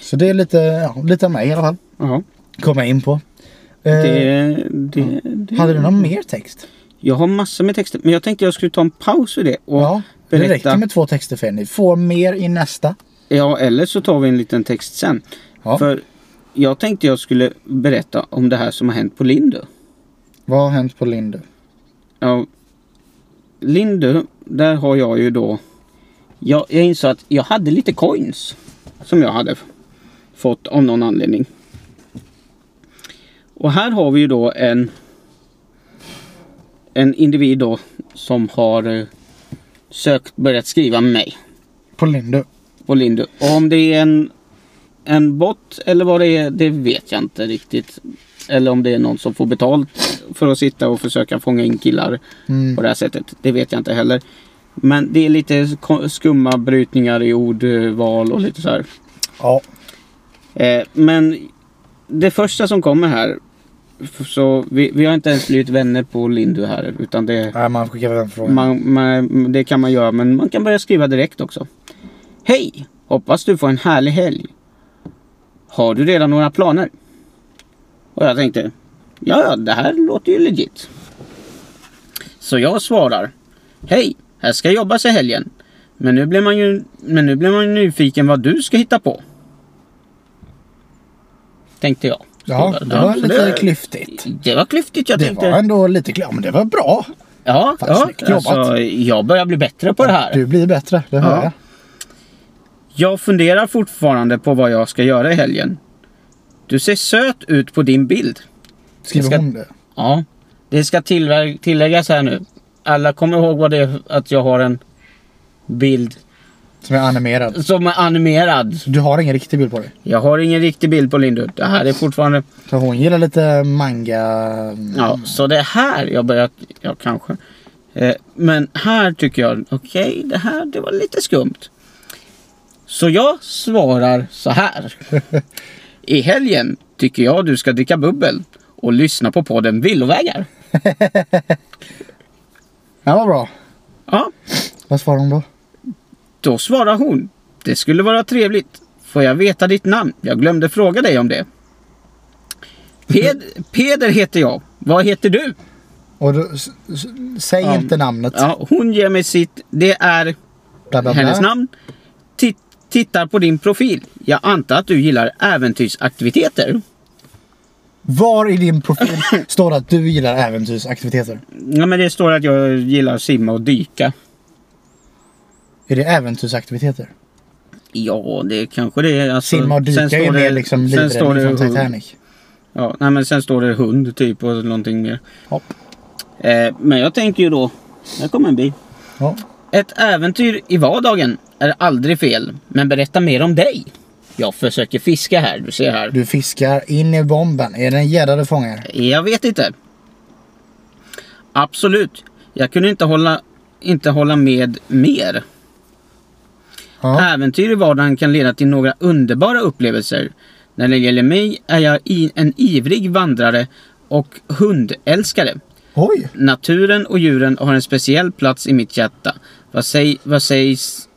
A: Så det är lite, ja, lite av mig i alla fall.
B: ja.
A: Kommer jag in på. Eh,
B: Det, det, det.
A: Hade du någon mer text?
B: Jag har massor med texter, men jag tänkte jag skulle ta en paus vid det. Och
A: Ja, det
B: berätta.
A: räcker med två texter för er. Ni får mer i nästa.
B: ja, eller så tar vi en liten text sen.
A: Ja.
B: För jag tänkte jag skulle berätta om det här som har hänt på Lindö.
A: Vad har hänt på Lindö?
B: Ja, Lindö, där har jag ju då... Jag, jag insåg att jag hade lite coins. Som jag hade f- fått av någon anledning. Och här har vi ju då en... En individ då som har eh, sökt, börjat skriva med mig
A: På Lindö?
B: på Lindö. Och om det är en, en bot eller vad det är, det vet jag inte riktigt. Eller om det är någon som får betalt för att sitta och försöka fånga in killar
A: Mm.
B: på det här sättet. Det vet jag inte heller. Men det är lite ko- skumma brytningar i ordval och lite så här.
A: Ja.
B: Eh, men det första som kommer här. f- Så vi, vi har inte ens blivit vänner på Lindu här. Utan det,
A: Nej, man skickar väl en fråga.
B: man, man, det kan man göra. Men man kan börja skriva direkt också. Hej! Hoppas du får en härlig helg. Har du redan några planer? Och jag tänkte. Ja, ja, det här låter ju legit. Så jag svarar. Hej! Här ska jobbas i helgen. Men nu blir man ju, men nu blir man ju nyfiken vad du ska hitta på. Tänkte jag.
A: Ja, det var
B: så
A: lite klyftigt.
B: Det var klyftigt jag
A: Det
B: tänkte.
A: var ändå lite klart, men det var bra.
B: Ja,
A: Fan,
B: ja
A: snyggt jobbat.
B: alltså, jag börjar bli bättre på det här.
A: Du blir bättre, det hör
B: Ja.
A: jag.
B: Jag funderar fortfarande på vad jag ska göra i helgen. Du ser söt ut på din bild.
A: Skriver
B: Jag ska-
A: hon det?
B: Ja, det ska tillvä- tilläggas här nu. Alla kommer ihåg vad det är att jag har en bild
A: Som är animerad.
B: Som är animerad.
A: Du har ingen riktig bild på dig.
B: Jag har ingen riktig bild på Lindu. Det här är fortfarande...
A: Så hon gillar lite manga.
B: Ja, så det här jag börjat... Ja, kanske. Eh, men här tycker jag, okej, det här det var lite skumt. Så jag svarar så här. I helgen tycker jag du ska dricka bubbel och lyssna på podden Villovägar.
A: Ja, vad bra.
B: Ja,
A: Vad svarar hon då?
B: då svarar hon. Det skulle vara trevligt. Får jag veta ditt namn? Jag glömde fråga dig om det. Ped, Peder heter jag. Vad heter du?
A: Och du, s- s- säg
B: Ja.
A: inte namnet.
B: Ja, hon ger mig sitt. Det är
A: Bla, bla, bla.
B: hennes namn. Titt, tittar på din profil. Jag antar att du gillar äventyrsaktiviteter.
A: Var i din profil står det att du gillar äventyrsaktiviteter?
B: Ja, men det står att jag gillar att simma och dyka.
A: Är det äventyrsaktiviteter?
B: Ja, det kanske det är. Alltså,
A: Simma och dyka
B: sen
A: är
B: står
A: ju mer
B: det-
A: liksom
B: sen står
A: livräddning
B: det
A: från
B: hund.
A: Titanic.
B: Ja, nej, men sen står det hund typ och någonting mer.
A: Hopp.
B: Eh, men jag tänker ju då, där kommer en bil.
A: Ja.
B: Ett äventyr i vardagen är aldrig fel, men berätta mer om dig. Jag försöker fiska här, du ser här.
A: Du fiskar in i bomben. Är det en gädda du fångar?
B: Jag vet inte. Absolut, jag kunde inte hålla, inte hålla med mer.
A: Ja.
B: Äventyr i vardagen kan leda till några underbara upplevelser. När det gäller mig är jag i- en ivrig vandrare och hundälskare.
A: Oj!
B: Naturen och djuren har en speciell plats i mitt hjärta. Vad, säg, vad, sägs,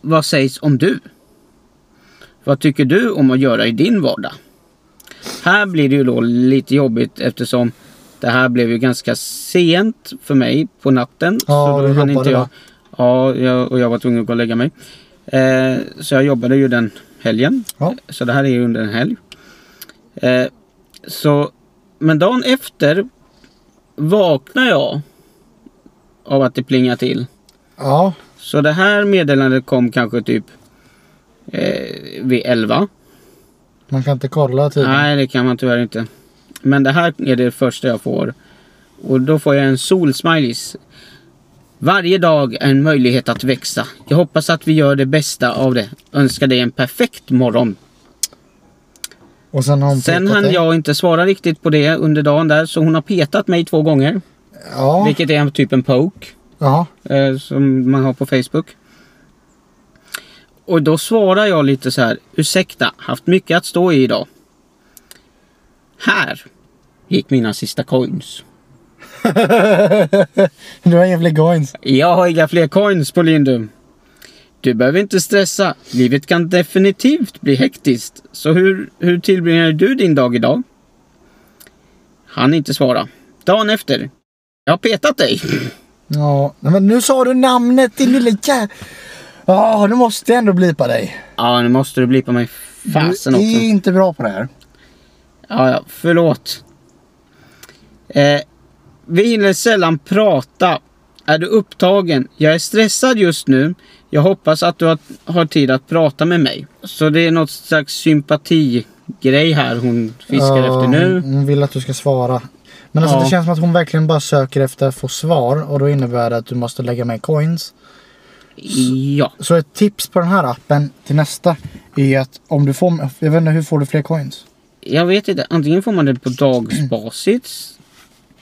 B: vad sägs om du? Vad tycker du om att göra i din vardag? Här blir det ju då lite jobbigt eftersom det här blev ju ganska sent för mig på natten.
A: Ja,
B: så
A: du
B: hann
A: jobbade,
B: jag,
A: va?
B: Ja, jag, och jag var tvungen att gå och lägga mig. Eh, så jag jobbade ju den helgen.
A: Ja.
B: Så det här är ju under en helg. Eh, så, men dagen efter vaknar jag av att det plingar till.
A: Ja.
B: Så det här meddelandet kom kanske typ eh, vid 11.
A: Man kan inte kolla tiden.
B: Nej, det kan man tyvärr inte. Men det här är det första jag får. Och då får jag en solsmileys. Varje dag är en möjlighet att växa. Jag hoppas att vi gör det bästa av det. Önskar dig en perfekt morgon.
A: Och sen har hon
B: Sen
A: petat
B: hann
A: dig.
B: jag inte svara riktigt på det under dagen där, så hon har petat mig två gånger.
A: Ja.
B: Vilket är en typ en poke.
A: ja.
B: eh, som man har på Facebook. Och då svarar jag lite så här, ursäkta, haft mycket att stå i idag. Här gick mina sista coins.
A: Du har jävla goins.
B: Jag har inga fler coins på Lindum. Du behöver inte stressa, livet kan definitivt bli hektiskt. Så hur, hur tillbringar du din dag idag? Han inte svara. Dagen efter. Jag har petat dig.
A: Ja. Nej, Men nu sa du namnet din lilla jä... Ja, nu måste jag ändå blipa dig.
B: Ja, nu måste du bli på mig fasen
A: du
B: också.
A: är inte bra på det här.
B: Ja, ja, förlåt. Eh, vi hinner sällan prata. Är du upptagen? Jag är stressad just nu. Jag hoppas att du har, har tid att prata med mig. Så det är något slags sympatigrej här hon fiskar
A: Ja,
B: efter nu.
A: Hon vill att du ska svara. Men alltså
B: Ja.
A: det känns som att hon verkligen bara söker efter att få svar och då innebär det att du måste lägga med coins.
B: Ja.
A: Så ett tips på den här appen till nästa är att om du får, jag vet inte hur får du fler coins?
B: Jag vet inte. Antingen får man det på dagsbasis.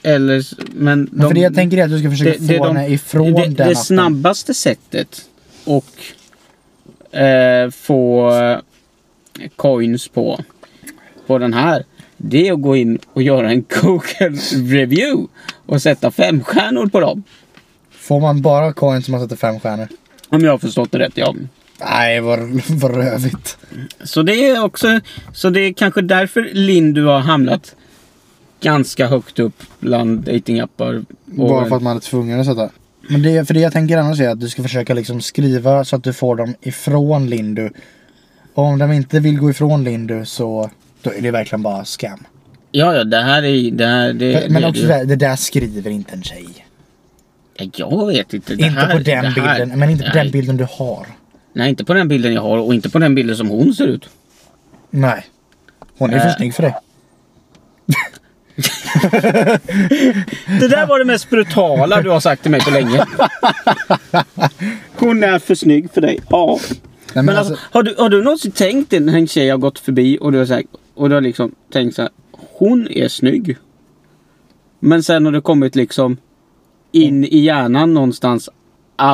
B: Eller, s- men
A: Men för det jag tänker är att du ska försöka få henne ifrån
B: det,
A: den
B: det
A: appen.
B: snabbaste sättet och eh, få eh, coins på, på den här. Det är att gå in och göra en <laughs> Google review och sätta fem stjärnor på dem.
A: Får man bara coins om man sätter fem stjärnor?
B: Om jag har förstått det rätt ja.
A: Nej vad, vad rövigt.
B: Så det är också, så det är kanske därför Lindu har hamnat ganska högt upp bland datingappar. och-
A: Bara för att man är tvungen att sätta. Men det, för det jag tänker annars är att du ska försöka liksom skriva så att du får dem ifrån Lindu. Och om de inte vill gå ifrån Lindu så då är det verkligen bara scam.
B: Ja, ja, det här är... Det här, det,
A: Men
B: det,
A: också det,
B: det,
A: där, det där skriver inte en tjej.
B: Jag vet inte. Det
A: inte
B: här,
A: på den
B: det här-
A: bilden, men inte på den
B: nej.
A: bilden du har.
B: Nej, inte på den bilden jag har och inte på den bilden som hon ser ut.
A: Nej. Hon är för
B: Äh.
A: snygg för det.
B: <laughs> Det där var det mest brutala du har sagt till mig på länge. Hon är för snygg för dig. Ja.
A: Nej,
B: Men alltså, har, du, har du någonsin tänkt dig när en tjej har gått förbi och du har, så här, och du har liksom tänkt så här, hon är snygg. Men sen har du kommit liksom in i hjärnan någonstans,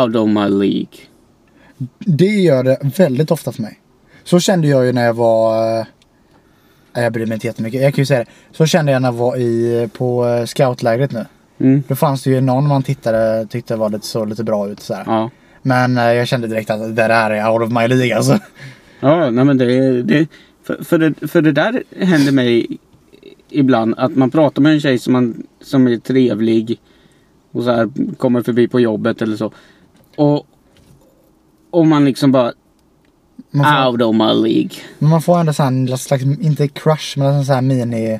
B: out of my league.
A: Det gör det väldigt ofta för mig. Så kände jag ju när jag var... eh, Nej, jag bryr mig inte jättemycket. Jag kan ju säga det. Så kände jag när jag var i, på eh, scoutlägret nu.
B: Mm.
A: Då fanns det ju någon man tittade, tyckte var lite, såg lite bra ut. Så här.
B: Ja.
A: Men eh, jag kände direkt att det där är out of my league alltså.
B: Ja, nej men det, det, för, för, det, för det där händer mig ibland. Att man pratar med en tjej som, man, som är trevlig och så här kommer förbi på jobbet eller så. Och, och man liksom bara
A: Man får,
B: out of my league.
A: men man får ändå sån slags, inte crush, men en sån här mini...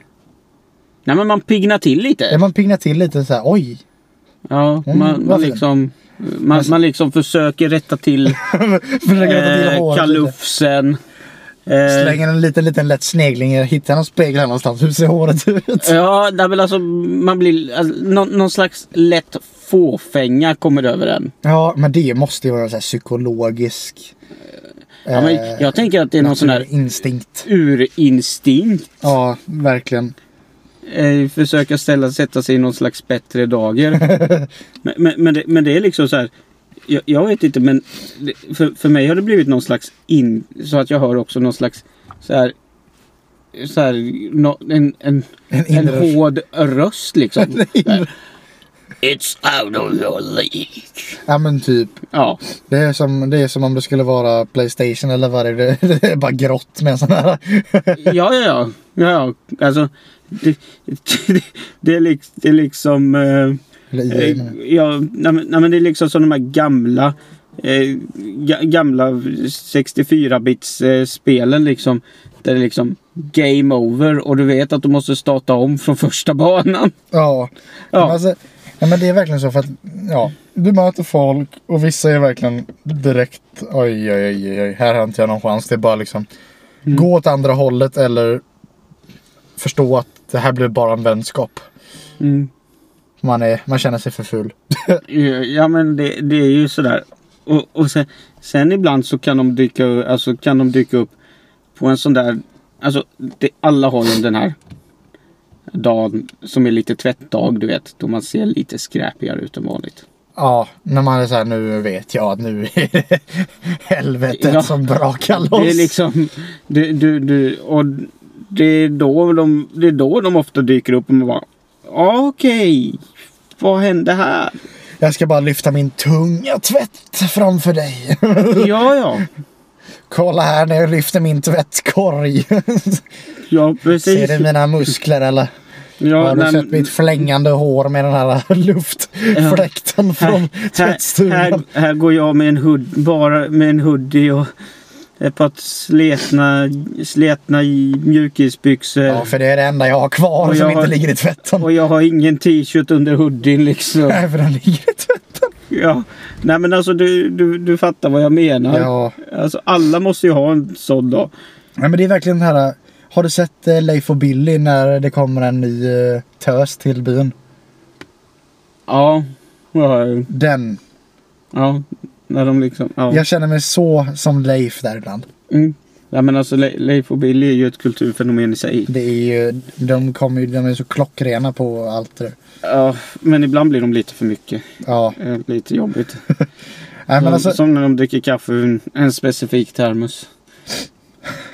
B: Nej men man pignar till
A: Ja,
B: lite.
A: man pignar till lite så här, oj. <laughs>
B: Ja,
A: Mm,
B: man, man
A: varför?
B: liksom... Man, man liksom försöker rätta till,
A: <laughs> Försöker rätta till
B: eh,
A: håret lite.
B: kalufsen. Eh,
A: Slänger en liten, liten lätt snegling. Hittar någon spegel här någonstans. Hur ser håret ut?
B: Ja, nej, men alltså man blir... Alltså, någon, någon slags lätt fåfänga kommer över en.
A: Ja, men det måste ju vara så här psykologisk
B: Ja, men
A: eh,
B: jag tänker att det är någon sån här
A: instinkt.
B: urinstinkt.
A: Ja, verkligen.
B: Eh, försöka ställa, sätta sig i någon slags
A: <laughs>
B: bättre dager. men, men, men, det, men det är liksom så här. Jag, jag vet inte men det, för, för mig har det blivit någon slags in... Så att jag har också någon slags så här, så här, nå- en, en,
A: En
B: en
A: inre-
B: hård
A: <laughs>
B: röst liksom. It's out of your league.
A: Ja, men typ.
B: Ja.
A: Det är, som, det är som om det skulle vara Playstation eller vad det är. <laughs> Det är bara grått med en sån här. <laughs>
B: Ja, ja, ja. ja, ja. Alltså, det, det, det, är liksom, det är liksom... Eh,
A: Eller i,
B: Eh,
A: men-
B: Ja, nej, men- nej, men det är liksom som de här gamla eh, ga- gamla 64-bits eh, spelen liksom. Där det är liksom game over och du vet att du måste starta om från första banan.
A: ja. Men,
B: Ja,
A: alltså, ja, men det är verkligen så för att ja, du möter folk och vissa är verkligen direkt oj, oj, oj, oj, här har inte jag någon chans. Det är bara liksom
B: Mm.
A: gå åt andra hållet eller förstå att det här blir bara en vänskap.
B: mm.
A: Man, är, man känner sig för ful.
B: Eh, ja men det, det är ju sådär. Och, och sen, sen ibland så kan de dyka, alltså, kan de dyka upp på en sån där... Alltså, det, alla har ju den här dagen som är lite tvättdag, du vet. Då man ser lite skräpigare ut än vanligt.
A: Ja, när man är så här, nu vet jag att nu är <laughs> det helvetet
B: Ja.
A: som brakar loss.
B: Det är liksom... Det, du, du, och det är, då de, det är då de ofta dyker upp och man bara... "Ja, Okej, vad
A: <laughs>
B: hände här?
A: Jag ska bara lyfta min tunga tvätt framför dig. <laughs>
B: Ja, ja.
A: Kolla här när jag lyfter min tvättkorg. <laughs>
B: Ja,
A: Ser
B: precis.
A: du mina muskler eller?
B: Ja,
A: Har du
B: nej,
A: sett mitt flängande hår med den här <laughs> luftfläkten från
B: här, här,
A: tvättstugan?
B: här går jag med en, hood, bara med en hoodie och ett par sletna, sletna i- mjukisbyxor.
A: Ja, för det är det enda jag har kvar
B: Och
A: som
B: jag
A: inte
B: har-
A: ligger i tvätten.
B: Och jag har ingen t-shirt under hoodien liksom.
A: Nej, för den ligger i tvätten.
B: Ja. Nej men alltså du, du, du fattar vad jag menar.
A: Ja.
B: Alltså alla måste ju ha en sån dag.
A: Nej, men det är verkligen det här. Har du sett eh, Leif och Billy när det kommer en ny eh, tös till byn?
B: Ja. Ja.
A: Den.
B: ja. När de liksom. Ja.
A: Jag känner mig så som Leif där ibland.
B: Mm. Nej men alltså Le- Leif och Billy är ju ett kulturfenomen i sig.
A: Det är ju, de kommer ju, de är så klockrena på allt det där.
B: Ja. Men ibland blir de lite för mycket.
A: Ja,
B: Eh, Lite jobbigt.
A: nej men
B: Som-
A: alltså.
B: Som när de dricker kaffe ur en, en
A: <laughs>
B: specifik termos.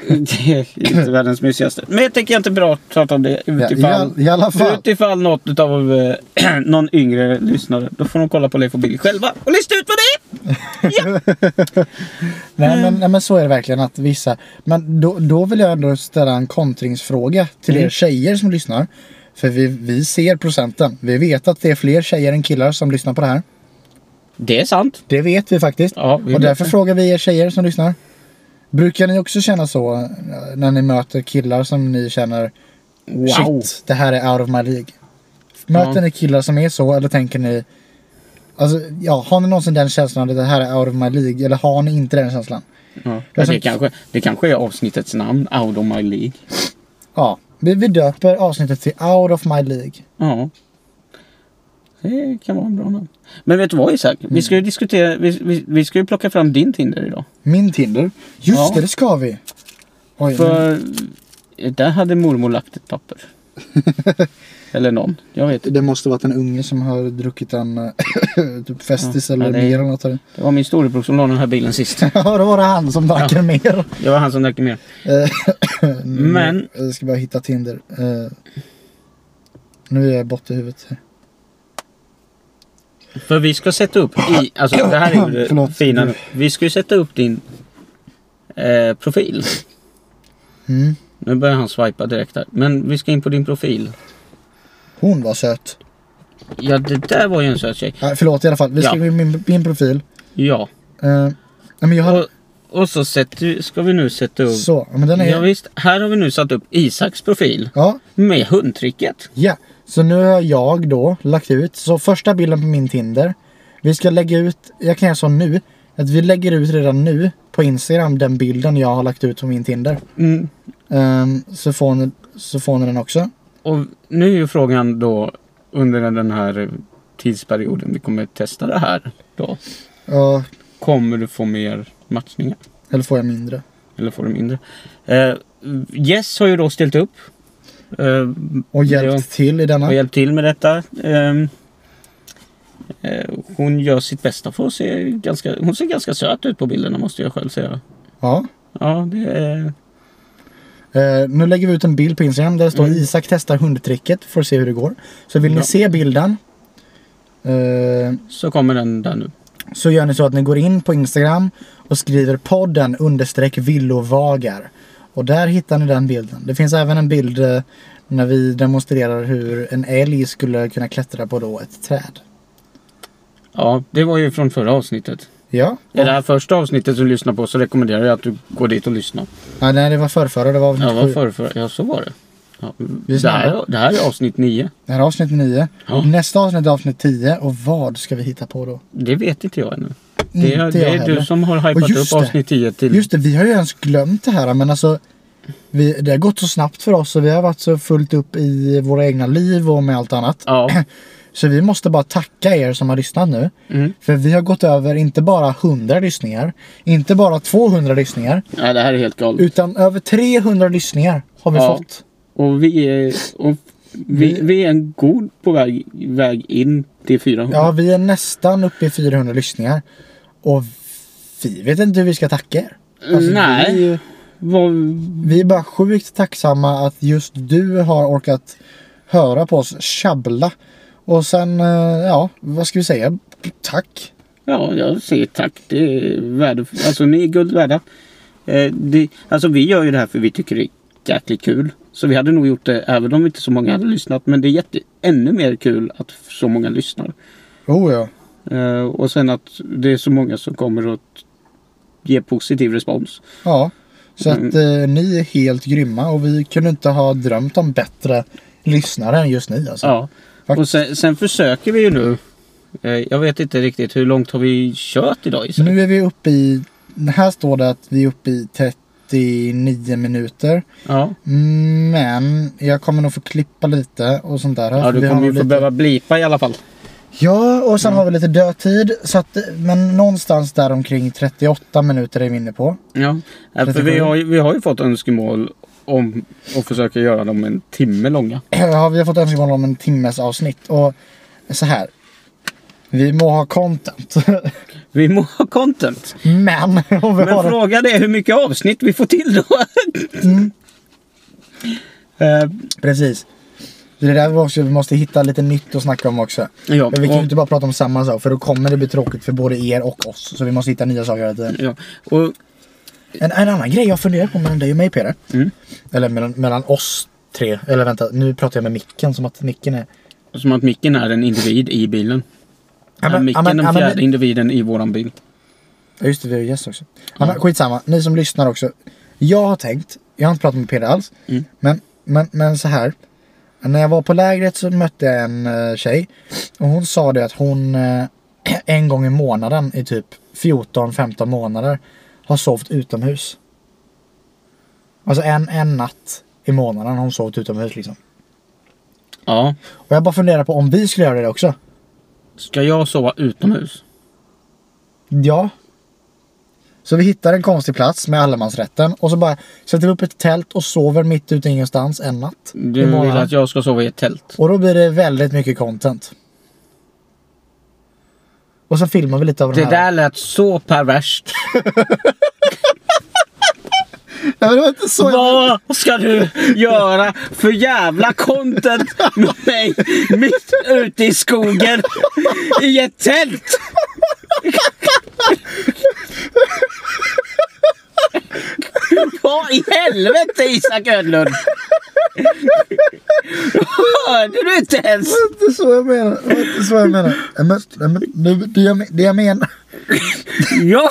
B: Det är inte världens mysigaste. Men jag tänker inte bra prata om det
A: Ja, i,
B: utifall,
A: all, I alla fall.
B: utifall något av eh, <clears throat> någon yngre lyssnare. Då får de kolla på Leif och Billy själva och lista ut vad det är.
A: Nej men, nej men så är det verkligen att vissa. Men då, då vill jag ändå ställa en kontringsfråga till er
B: Mm.
A: tjejer som lyssnar. För vi, vi ser procenten. Vi vet att det är fler tjejer än killar som lyssnar på det här.
B: Det är sant.
A: Det vet vi faktiskt.
B: Ja, vi
A: Och
B: vet
A: därför
B: det.
A: frågar vi er tjejer som lyssnar. Brukar ni också känna så eh, när ni möter killar som ni känner
B: Wow.
A: Shit, det här är out of my league. Möter
B: Ja.
A: ni killar som är så eller tänker ni Alltså ja, har ni någonsin den känslan att det här är out of my league eller har ni inte den känslan?
B: Ja.
A: Jag
B: Ja,
A: som-
B: det, kanske, det kanske är avsnittets namn, Out of My League.
A: Ja, vi, vi döper avsnittet till Out of my League.
B: Ja. Det kan vara en bra namn. Men vet du vad Isak? Vi
A: Mm.
B: ska ju diskutera, vi, vi, vi ska ju plocka fram din Tinder idag.
A: Min Tinder. Just
B: Ja.
A: det, det ska vi. Oj, men
B: För där hade mormor lagt
A: <laughs>
B: ett papper. Eller någon. Jag vet inte.
A: det måste varit en unge som har druckit en <laughs> eh, typ Festis
B: Ja,
A: eller
B: ja, det-
A: mer eller något. sådär.
B: Det var min storebror som la den här bilen sist.
A: <laughs> Ja, då var det han som drack en mer.
B: Det var han som drack mer.
A: Eh, <coughs> nu-
B: Men-
A: Jag ska bara hitta Tinder. Eh, nu är jag bort i huvudet. här.
B: För vi ska sätta upp i, alltså det här är ju det
A: <coughs> Förlåt.
B: fina nu. Vi ska ju sätta upp din eh, profil.
A: Mm.
B: Nu börjar han swipa direkt här. Men vi ska in på din profil.
A: Hon var söt.
B: Ja det där var ju en söt tjej.
A: Nej, förlåt i alla fall. Vi ska
B: Ja.
A: ja. min, min profil.
B: Ja.
A: Eh, nej, men jag har...
B: Och, och så sätter, ska vi nu sätta upp.
A: Så, ja, men den är...
B: Ja,
A: Ja,
B: visst, här har vi nu satt upp Isaks profil.
A: ja.
B: Med hundtricket.
A: Så nu har jag då lagt ut. Så första bilden på min Tinder. Vi ska lägga ut, jag kan göra så nu. Att vi lägger ut redan nu på Instagram den bilden jag har lagt ut på min Tinder.
B: Mm.
A: Ehm, så, får ni, så får ni den också.
B: Och nu är ju frågan då under den här eh, tidsperioden vi kommer testa det här då.
A: Ja,
B: Kommer du få mer matchningar?
A: eller får jag mindre?
B: Eller får du mindre? Eh, Jess har ju då ställt upp. Eh,
A: Och hjälpt till i denna.
B: och hjälpt till med detta. Ehm, eh, hon gör sitt bästa för att se ganska, hon ser ganska söt ut på bilderna måste jag själv säga.
A: Ja.
B: Ja, det är...
A: Eh, nu lägger vi ut en bild på Instagram där det står
B: Mm.
A: Isak testar hundtricket för att se hur det går. Så vill
B: Bra.
A: ni se bilden eh,
B: Så kommer den där nu.
A: så gör ni så att ni går in på Instagram och skriver podden understreck villovagar. Och där hittar ni den bilden. Det finns även en bild eh, när vi demonstrerar hur en älg skulle kunna klättra på då ett träd.
B: Ja, det var ju från förra avsnittet.
A: Ja,
B: I det här första avsnittet som du lyssnar på så rekommenderar jag att du går dit och lyssnar.
A: ja nej det var förrförra, det var
B: Ja,
A: avsnitt
B: vad
A: sju.
B: för, för, ja så var det. Ja,
A: Vi är
B: det, här,
A: snabba. Mm.
B: det här är avsnitt nio.
A: Det här är avsnitt 9.
B: Ja.
A: Nästa avsnitt är avsnitt 10 och vad ska vi hitta på då?
B: Det vet inte jag ännu. Det är,
A: Inte
B: det
A: jag
B: är
A: heller.
B: du som har hypat upp
A: just det.
B: avsnitt 10 till...
A: Just det, vi har ju ens glömt det här men alltså vi, Det har gått så snabbt för oss och vi har varit så fullt upp i våra egna liv och med allt annat.
B: Ja.
A: Så vi måste bara tacka er som har lyssnat nu.
B: Mm.
A: För vi har gått över inte bara 100 lyssningar, inte bara 200 lyssningar,
B: Nej, det här är helt galet.
A: utan över 300 lyssningar har vi
B: Ja.
A: fått.
B: Och vi är... Och vi,
A: Vi-
B: vi är en god på väg, väg in till 400.
A: Ja, vi är nästan uppe i 400 lyssningar. Och vi vet inte hur vi ska tacka er. Alltså,
B: Nej.
A: Vi är, ju-
B: Vad,
A: vi är bara sjukt tacksamma att just du har orkat höra på oss tjabbla. Och sen, eh, ja, vad ska vi säga? Tack.
B: ja, jag säger tack. Det är värdefullt. Alltså, ni är guld värda. Eh, det, alltså, vi gör ju det här för vi tycker det är jäkligt kul. Så vi hade nog gjort det även om inte så många hade lyssnat. Men det är jätte, ännu mer kul att så många lyssnar.
A: Oh ja.
B: Eh, och sen att det är så många som kommer att ge positiv respons.
A: Ja. Så
B: Mm.
A: att eh, ni är helt grymma och vi kunde inte ha drömt om bättre lyssnare än just ni alltså.
B: Ja.
A: Faktiskt.
B: Och sen, sen försöker vi ju nu. Eh, jag vet inte riktigt hur långt har vi kört idag Isak?
A: Nu är vi uppe i, här står det att vi är uppe i 39 minuter. Mm,
B: Ja.
A: Men jag kommer nog få klippa lite och sånt där.
B: ja,
A: För vi
B: du
A: har
B: kommer ju
A: nog
B: få
A: lite-
B: behöva blipa i alla fall.
A: Ja, och
B: Mm.
A: sen har vi lite dödtid. Så att, men någonstans där omkring 38 minuter är vi inne på. <clears throat>
B: Ja. Eh, För vi
A: 37.
B: har, ju- vi har ju fått önskemål om att försöka göra dem en timme långa.
A: Ja, vi har fått önskemål om en timmes avsnitt. Och så här. Vi må ha content. <laughs>
B: Vi må ha content.
A: men <laughs> om vi
B: Men
A: har
B: frågan är hur mycket avsnitt vi får till då. <laughs>
A: Mm.
B: Eh,
A: Precis. Det är där vi också vi måste hitta lite nytt att snacka om också.
B: ja,
A: Men vi kan
B: och-
A: ju inte bara prata om samma sak för då kommer det bli tråkigt för både er och oss. Så vi måste hitta nya saker hela tiden.
B: ja. Och
A: En, en annan grej jag funderar på mellan dig och mig Peder.
B: Mm.
A: Eller mellan, mellan oss tre. Eller vänta, nu pratar jag med micken som att micken är...
B: Som att micken är en individ i bilen.
A: Ja,
B: är
A: men-
B: micken
A: ja, men-
B: den
A: ja, men-
B: fjärde individen i våran bil?
A: Ja just det, vi har ju gäst också. Ja, men skitsamma, ni som lyssnar också. Jag har tänkt, jag har inte pratat med Peder alls.
B: Mm.
A: Men, men, men så här. När jag var på lägret så mötte jag en eh, tjej. Och hon sa det att hon eh, <clears throat> en gång i månaden i typ 14-15 månader har sovt utomhus. Alltså en, en natt i månaden har hon sovit utomhus liksom.
B: Ja.
A: Och jag bara funderar på om vi skulle göra det också.
B: Ska jag sova utomhus?
A: Ja. Så vi hittar en konstig plats med allemansrätten och så bara sätter vi upp ett tält och sover mitt ute i ingenstans en natt.
B: Du
A: I morgon.
B: vill att jag ska sova i ett tält?
A: Och då blir det väldigt mycket content. Och så filmar vi lite av den
B: Det
A: här.
B: där lät så perverst.
A: Nej, men det var inte så jag...
B: Vad ska du göra för jävla content med mig mitt ute i skogen i ett tält? Vad i helvete Isak Ödlund? Hörde du inte ens?
A: Det var inte så jag menar. Det var inte så jag menar. Nej, Men, nej, men, nu, det, jag, men- det jag menar.
B: Jag,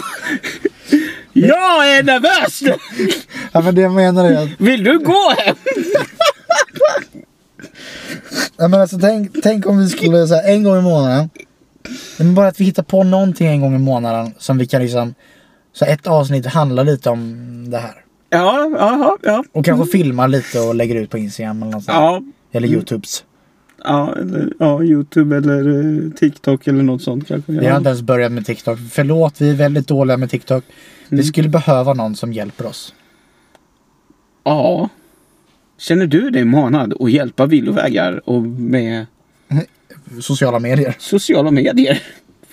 B: jag är nervös nu.
A: Ja, men det jag menar är att
B: Vill du gå hem?
A: Nej, men alltså, tänk, tänk om vi skulle så här, en gång i månaden. Men bara att vi hittar på någonting en gång i månaden som vi kan liksom. Så ett avsnitt handlar lite om det här.
B: Ja, ja, ja.
A: Och kanske filmar lite och lägger ut på Instagram eller något sånt.
B: ja.
A: Eller Youtubes.
B: Ja, eller, ja, Youtube eller eh, TikTok eller något sånt kanske.
A: Vi har
B: Ja.
A: inte ens börjat med TikTok. Förlåt, vi är väldigt dåliga med TikTok. Vi skulle behöva någon som hjälper oss.
B: ja. Känner du dig manad att hjälpa villovägar och med
A: Sociala medier.
B: sociala medier?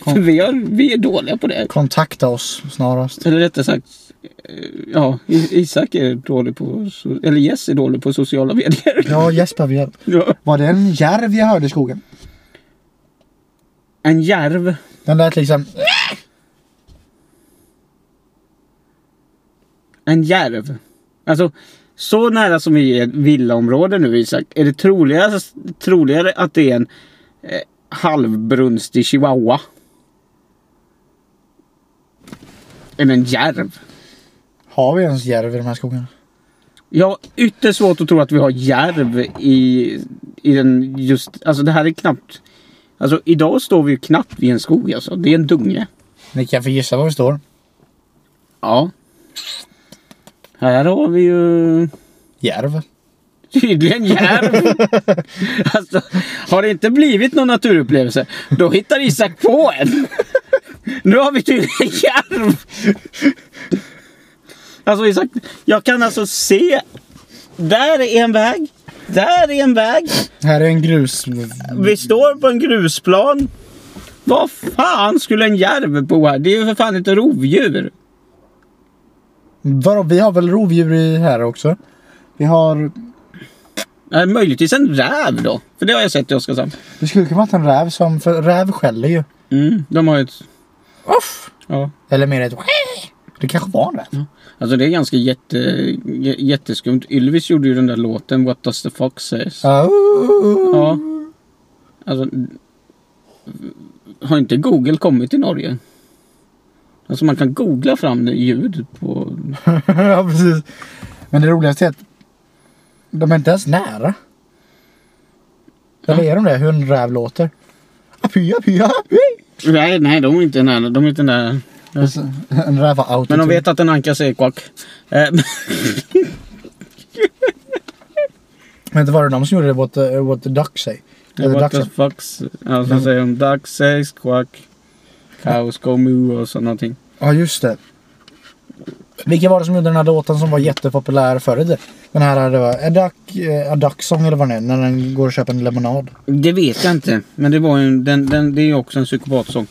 B: För vi, har, vi är dåliga på det.
A: Kontakta oss snarast.
B: Eller rättare sagt, eh, ja, I- Isak är dålig på, so- eller Jess är dålig på sociala medier.
A: Ja, Jesper vi hjälp.
B: <laughs> Ja.
A: Var det en järv jag hörde i skogen?
B: En järv.
A: Den lät liksom...
B: En järv. Alltså, så nära som vi är ett villaområde nu Isak, är det troligare, troligare att det är en eh, halvbrunstig chihuahua? Än en järv?
A: Har vi ens järv i de här skogarna?
B: Jag har ytterst svårt att tro att vi har järv i, i den just, alltså det här är knappt, alltså idag står vi ju knappt vid en skog alltså, det är en dunge.
A: Ni kan få gissa var vi står.
B: Ja. Här har vi ju
A: Järv.
B: Tydligen järv. alltså, har det inte blivit någon naturupplevelse, då hittar Isak på en. nu har vi tydligen järv. Alltså Isak, jag kan alltså se. Där är en väg. Där är en väg.
A: Här är en grus...
B: Vi står på en grusplan. Vad fan skulle en järv bo här? Det är ju för fan ett rovdjur.
A: Vadå, vi har väl rovdjur i här också? Vi har...
B: Eh, Möjligtvis en räv då. För det har jag sett i Oskarshamn.
A: Det skulle kunna varit en räv som... För räv skäller ju.
B: Mm, de har ju ett...
A: Uff!
B: Ja.
A: Eller mer ett... Det kanske var en räv.
B: Alltså det är ganska jätte, jä- jätteskumt. Ylvis gjorde ju den där låten What does the fox says.
A: Ja. <laughs>
B: Ja. Alltså, har inte Google kommit till Norge? Alltså man kan googla fram det ljud på...
A: ja, precis. Men det roligaste är att de är inte ens nära.
B: Mm.
A: Eller är de det? Hur en räv låter. Apy, apy, apy.
B: Nej, nej, de är inte nära. De är inte nära.
A: Och så- En räv har autotune.
B: Men de vet att en anka säger kvack. Eh, <laughs>
A: Men det var det de som gjorde det? What the, what the duck say? Eller
B: What the
A: ducksen.
B: fox... Ja, så säger de duck says quack. Cows go moo och så någonting.
A: Ja, just det. Vilka var det som gjorde den här låten som var jättepopulär förr i tiden? Den här, det var A Duck, eh, A Duck Song eller vad det är, när den går och köper en lemonad.
B: Det vet jag inte. Men det var ju en, den, den, det är ju också en psykopatsång.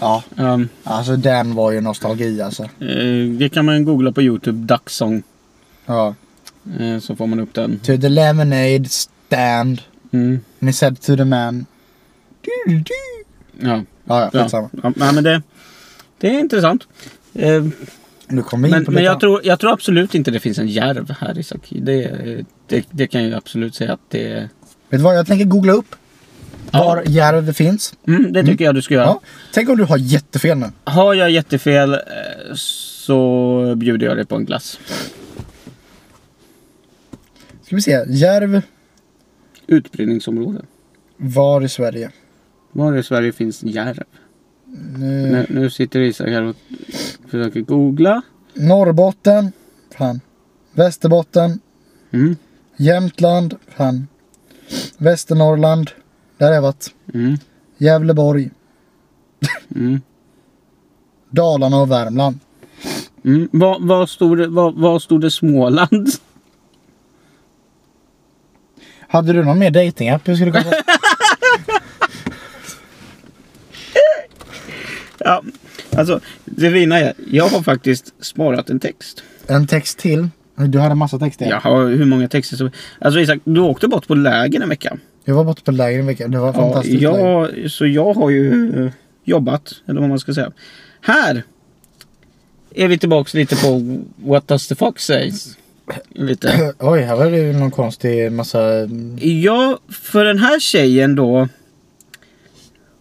A: Ja.
B: Ehm,
A: Alltså den var ju nostalgi alltså.
B: Eh, Det kan man googla på Youtube, Ducksong.
A: Ja.
B: Eh, Så får man upp den.
A: To the lemonade stand.
B: Mm.
A: And he said to the man. Du, du, du.
B: Ja,
A: Ja, ja,
B: ja.
A: skitsamma.
B: ja nej, men det, det är intressant. Eh,
A: Nu kommer vi in
B: Men,
A: på
B: men
A: lite
B: jag,
A: annat.
B: tror, jag tror absolut inte det finns en järv här Isak. Det, det, det kan jag ju absolut säga att det
A: Vet du vad, jag tänker googla upp
B: Ja.
A: var järv finns.
B: mm, Det tycker jag du ska
A: Ja.
B: göra.
A: Tänk om du har jättefel nu.
B: Har jag jättefel eh, så bjuder jag dig på en glass.
A: Ska vi se, järv
B: Utbredningsområde.
A: var i Sverige.
B: Var i Sverige finns järv?
A: Nu,
B: Nu, nu sitter Isak här och försöker googla.
A: Norrbotten, fan. Västerbotten,
B: Mm,
A: Jämtland, fan. Västernorrland, där har jag varit.
B: mm,
A: Gävleborg,
B: Mm.
A: Dalarna och Värmland.
B: Mm. Var, var, stod det, var, var stod det Småland?
A: Hade du någon mer datingapp vi skulle kolla? på?
B: <laughs> Ja, alltså det fina är, jag har faktiskt sparat en text.
A: <laughs> en text till. Du hade en massa texter.
B: Jag har hur många texter som... Alltså Isak, du åkte bort på läger en vecka.
A: Jag var borta på läger en vecka. Det var
B: Ja,
A: fantastiskt. läger.
B: jag, så jag har ju eh, jobbat, eller vad man ska säga. Här är vi tillbaks lite på What does the fuck says. Lite.
A: <clears throat> Oj, här var det ju någon konstig massa...
B: Ja, för den här tjejen då.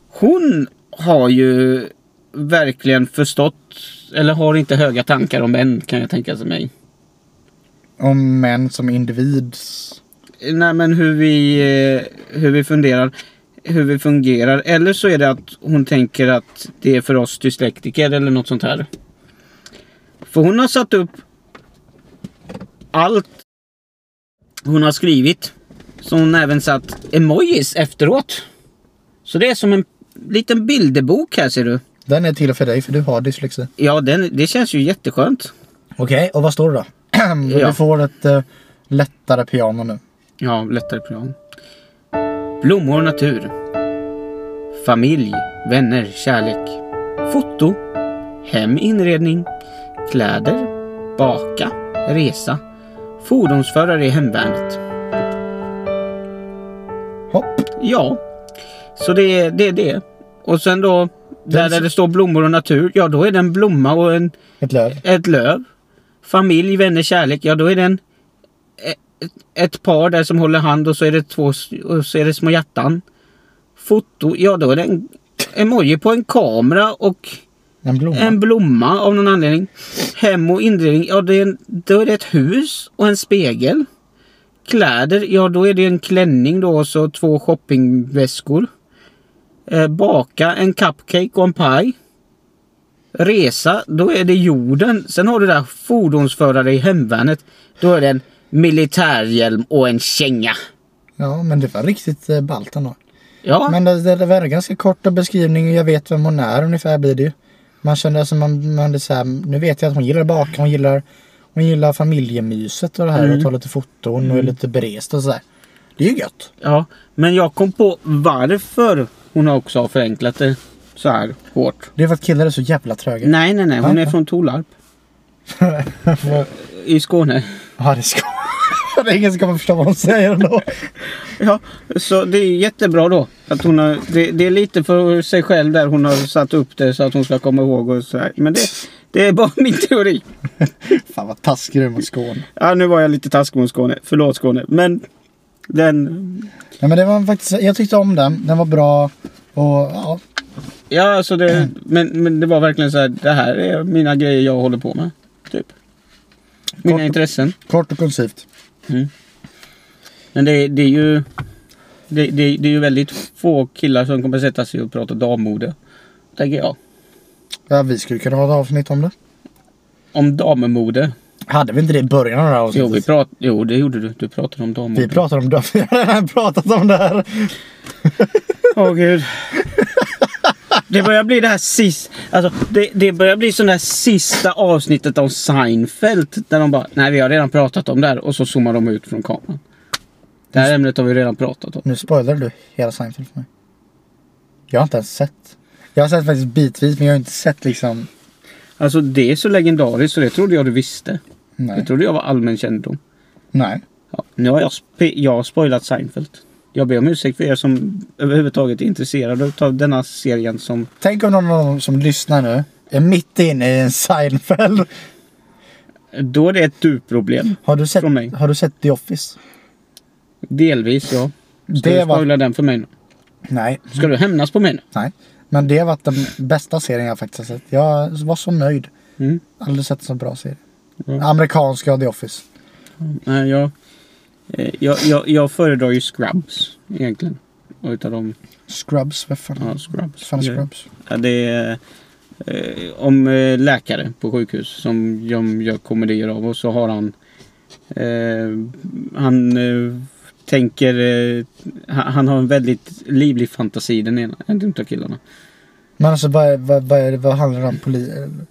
B: Hon har ju verkligen förstått, eller har inte höga tankar om män kan jag tänka mig.
A: Om män som individs...
B: Nej men hur vi, eh, hur vi funderar. Hur vi fungerar. Eller så är det att hon tänker att det är för oss dyslektiker eller något sånt här. För hon har satt upp allt hon har skrivit. Så hon har även satt emojis efteråt. Så det är som en liten bilderbok här ser du.
A: Den är till för dig för du har dyslexi.
B: Ja, den, det känns ju jätteskönt.
A: Okej, och vad <clears throat> står det då?
B: Ja.
A: Du får ett eh, lättare piano nu.
B: Ja, lättare plan. Blommor och natur. Familj, vänner, kärlek. Foto. Hem, inredning. Kläder. Baka. Resa. Fordonsförare i hemvärnet.
A: Hopp.
B: Ja, så det är det. Är det. Och sen då, där,
A: Den-
B: där det står blommor och natur, ja då är det en blomma och en,
A: Ett löv.
B: ett löv. Familj, vänner, kärlek, ja då är det en, ett, ett par där som håller hand och så är det två s- och så är det små hjärtan. Foto, ja då är det en emoji på en kamera och
A: En blomma.
B: en blomma av någon anledning. Hem och inredning, ja det är en, då är det ett hus och en spegel. Kläder, ja då är det en klänning då och så två shoppingväskor. Eh, baka en cupcake och en paj. Resa, då är det jorden. Sen har du där fordonsförare i hemvärnet. Då är det en militärhjälm och en känga.
A: Ja, men det var riktigt eh, ballt ändå.
B: Ja,
A: Men det, det, det var en ganska kort beskrivning. Jag vet vem hon är ungefär blir det ju. Man kände som man, man är så här, nu vet jag att hon gillar att baka, hon gillar, hon gillar familjemyset och det här och ta lite foton och är lite berest och sådär. Det är ju gött.
B: ja, men jag kom på varför hon också har förenklat det så här hårt.
A: Det är för att killar är så jävla tröga.
B: Nej, nej, nej. Hon är från Tolarp. I Skåne.
A: Ja, det ska... <laughs> det är ingen som kommer förstå vad de säger ändå.
B: Ja, så det är jättebra då. Att hon har, det, det är lite för sig själv där hon har satt upp det så att hon ska komma ihåg och sådär. Men det, det är bara <laughs> min teori.
A: Fan vad taskig du är mot Skåne.
B: Ja, nu var jag lite taskig mot Skåne. Förlåt Skåne. Men den...
A: Ja, men det var faktiskt, jag tyckte om den, den var bra. Och ja,
B: Ja, alltså det... Men, men det var verkligen så här. Det här är mina grejer jag håller på med. Typ. Mina
A: Kort-
B: intressen.
A: kort och koncist.
B: Men det, det är ju... Det, det, det är ju väldigt få killar som kommer sätta sig och prata dammode. Tänker jag.
A: Ja, vi skulle kunna ha ett avsnitt om det.
B: Om dammode.
A: Hade vi inte det i början av det här
B: Jo,
A: avsnittet?
B: vi prat, jo, det gjorde du. Du pratade om dammode.
A: Vi pratar om det. <laughs> Vi har redan pratat om det här.
B: Åh gud. <laughs> Det börjar bli det här sist... Alltså, det, det börjar bli sån där sista avsnittet av Seinfeld. Där de bara, nej vi har redan pratat om det här. Och så zoomar de ut från kameran. Det här ämnet har vi redan pratat om.
A: Nu spoilar du hela Seinfeld för mig. Jag har inte ens sett. Jag har sett faktiskt bitvis men jag har inte sett liksom.
B: Alltså det är så legendariskt så det trodde jag du visste.
A: Nej.
B: Det trodde jag var allmän kännedom.
A: Nej.
B: Ja, nu har jag, sp- jag har spoilat Seinfeld. Jag ber om ursäkt för er som överhuvudtaget är intresserade av denna serien som...
A: Tänk om någon av dem som lyssnar nu är mitt inne i en Seinfeld.
B: Då är det ett du-problem.
A: Har du sett,
B: Från mig.
A: har du sett The Office?
B: Delvis ja. Ska
A: Det
B: du spoila
A: var...
B: den för mig nu?
A: Nej.
B: Ska du hämnas på mig nu?
A: Nej. Men det har varit den bästa serien jag faktiskt har sett. Jag var så nöjd.
B: Mm.
A: Aldrig sett en så bra serie.
B: Ja.
A: Amerikanska The Office.
B: Nej, jag, eh, jag, jag, jag föredrar ju Scrubs egentligen. Och utav dem,
A: Scrubs, vad fan?
B: ja Scrubs.
A: Fan är
B: Det-
A: Scrubs?
B: Ja, det är eh, om eh, läkare på sjukhus som de gör komedier av och så har han eh, han eh, tänker eh, han, han har en väldigt livlig fantasi den ena, en utav killarna.
A: Men alltså vad, är- vad, vad, är det- vad handlar det om? Poli-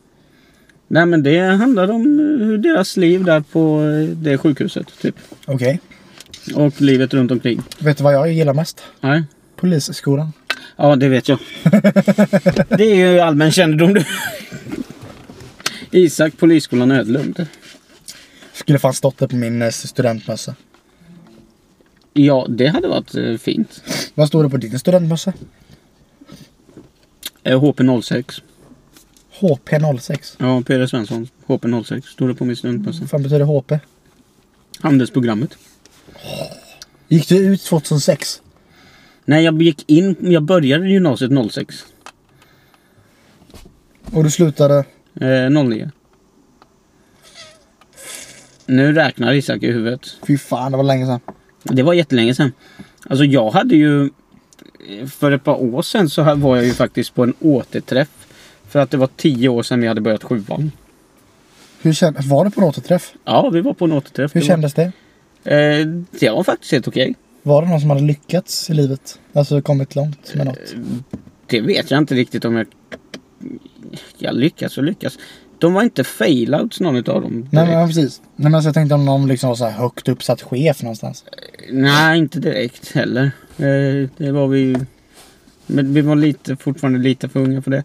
B: Nej men det handlar om hur deras liv där på eh, det sjukhuset typ.
A: Okej.
B: Och livet runt omkring.
A: Vet du vad jag gillar mest?
B: Nej.
A: Polisskolan.
B: Ja det vet jag. det är ju allmän kännedom du. Isak Polisskolan Ödlund.
A: Skulle fan stått det på min eh, studentmössa.
B: Ja det hade varit eh, fint.
A: Vad står det på din studentmössa?
B: Eh, HP06.
A: HP06.
B: Ja, Peder Svensson. HP06. Stod det på min studentmössa.
A: Vad fan betyder HP?
B: Handelsprogrammet.
A: Gick du ut 2006?
B: Nej, jag gick in. Jag började gymnasiet 06.
A: Och du slutade?
B: Eh, 09. Nu räknar Isak i huvudet.
A: Fy fan, det var länge sedan.
B: Det var jättelänge sedan. Alltså jag hade ju... För ett par år sedan så här var jag ju faktiskt på en återträff. För att det var tio år sedan vi hade börjat sjuan.
A: Hur känd, var det på en återträff?
B: Ja, vi var på en återträff.
A: Hur
B: Det
A: kändes det?
B: Var, eh, det var faktiskt helt okej.
A: Var det någon som hade lyckats i livet? Alltså kommit långt med något?
B: Eh, Det vet jag inte riktigt om jag... Jag lyckas och lyckas. De var inte failouts någon utav dem. direkt.
A: Nej men ja, precis. Nej men alltså, jag tänkte om någon liksom var så här högt uppsatt chef någonstans.
B: Nej, inte direkt heller. Eh, Det var vi ju... Men vi var lite, fortfarande lite för unga för det.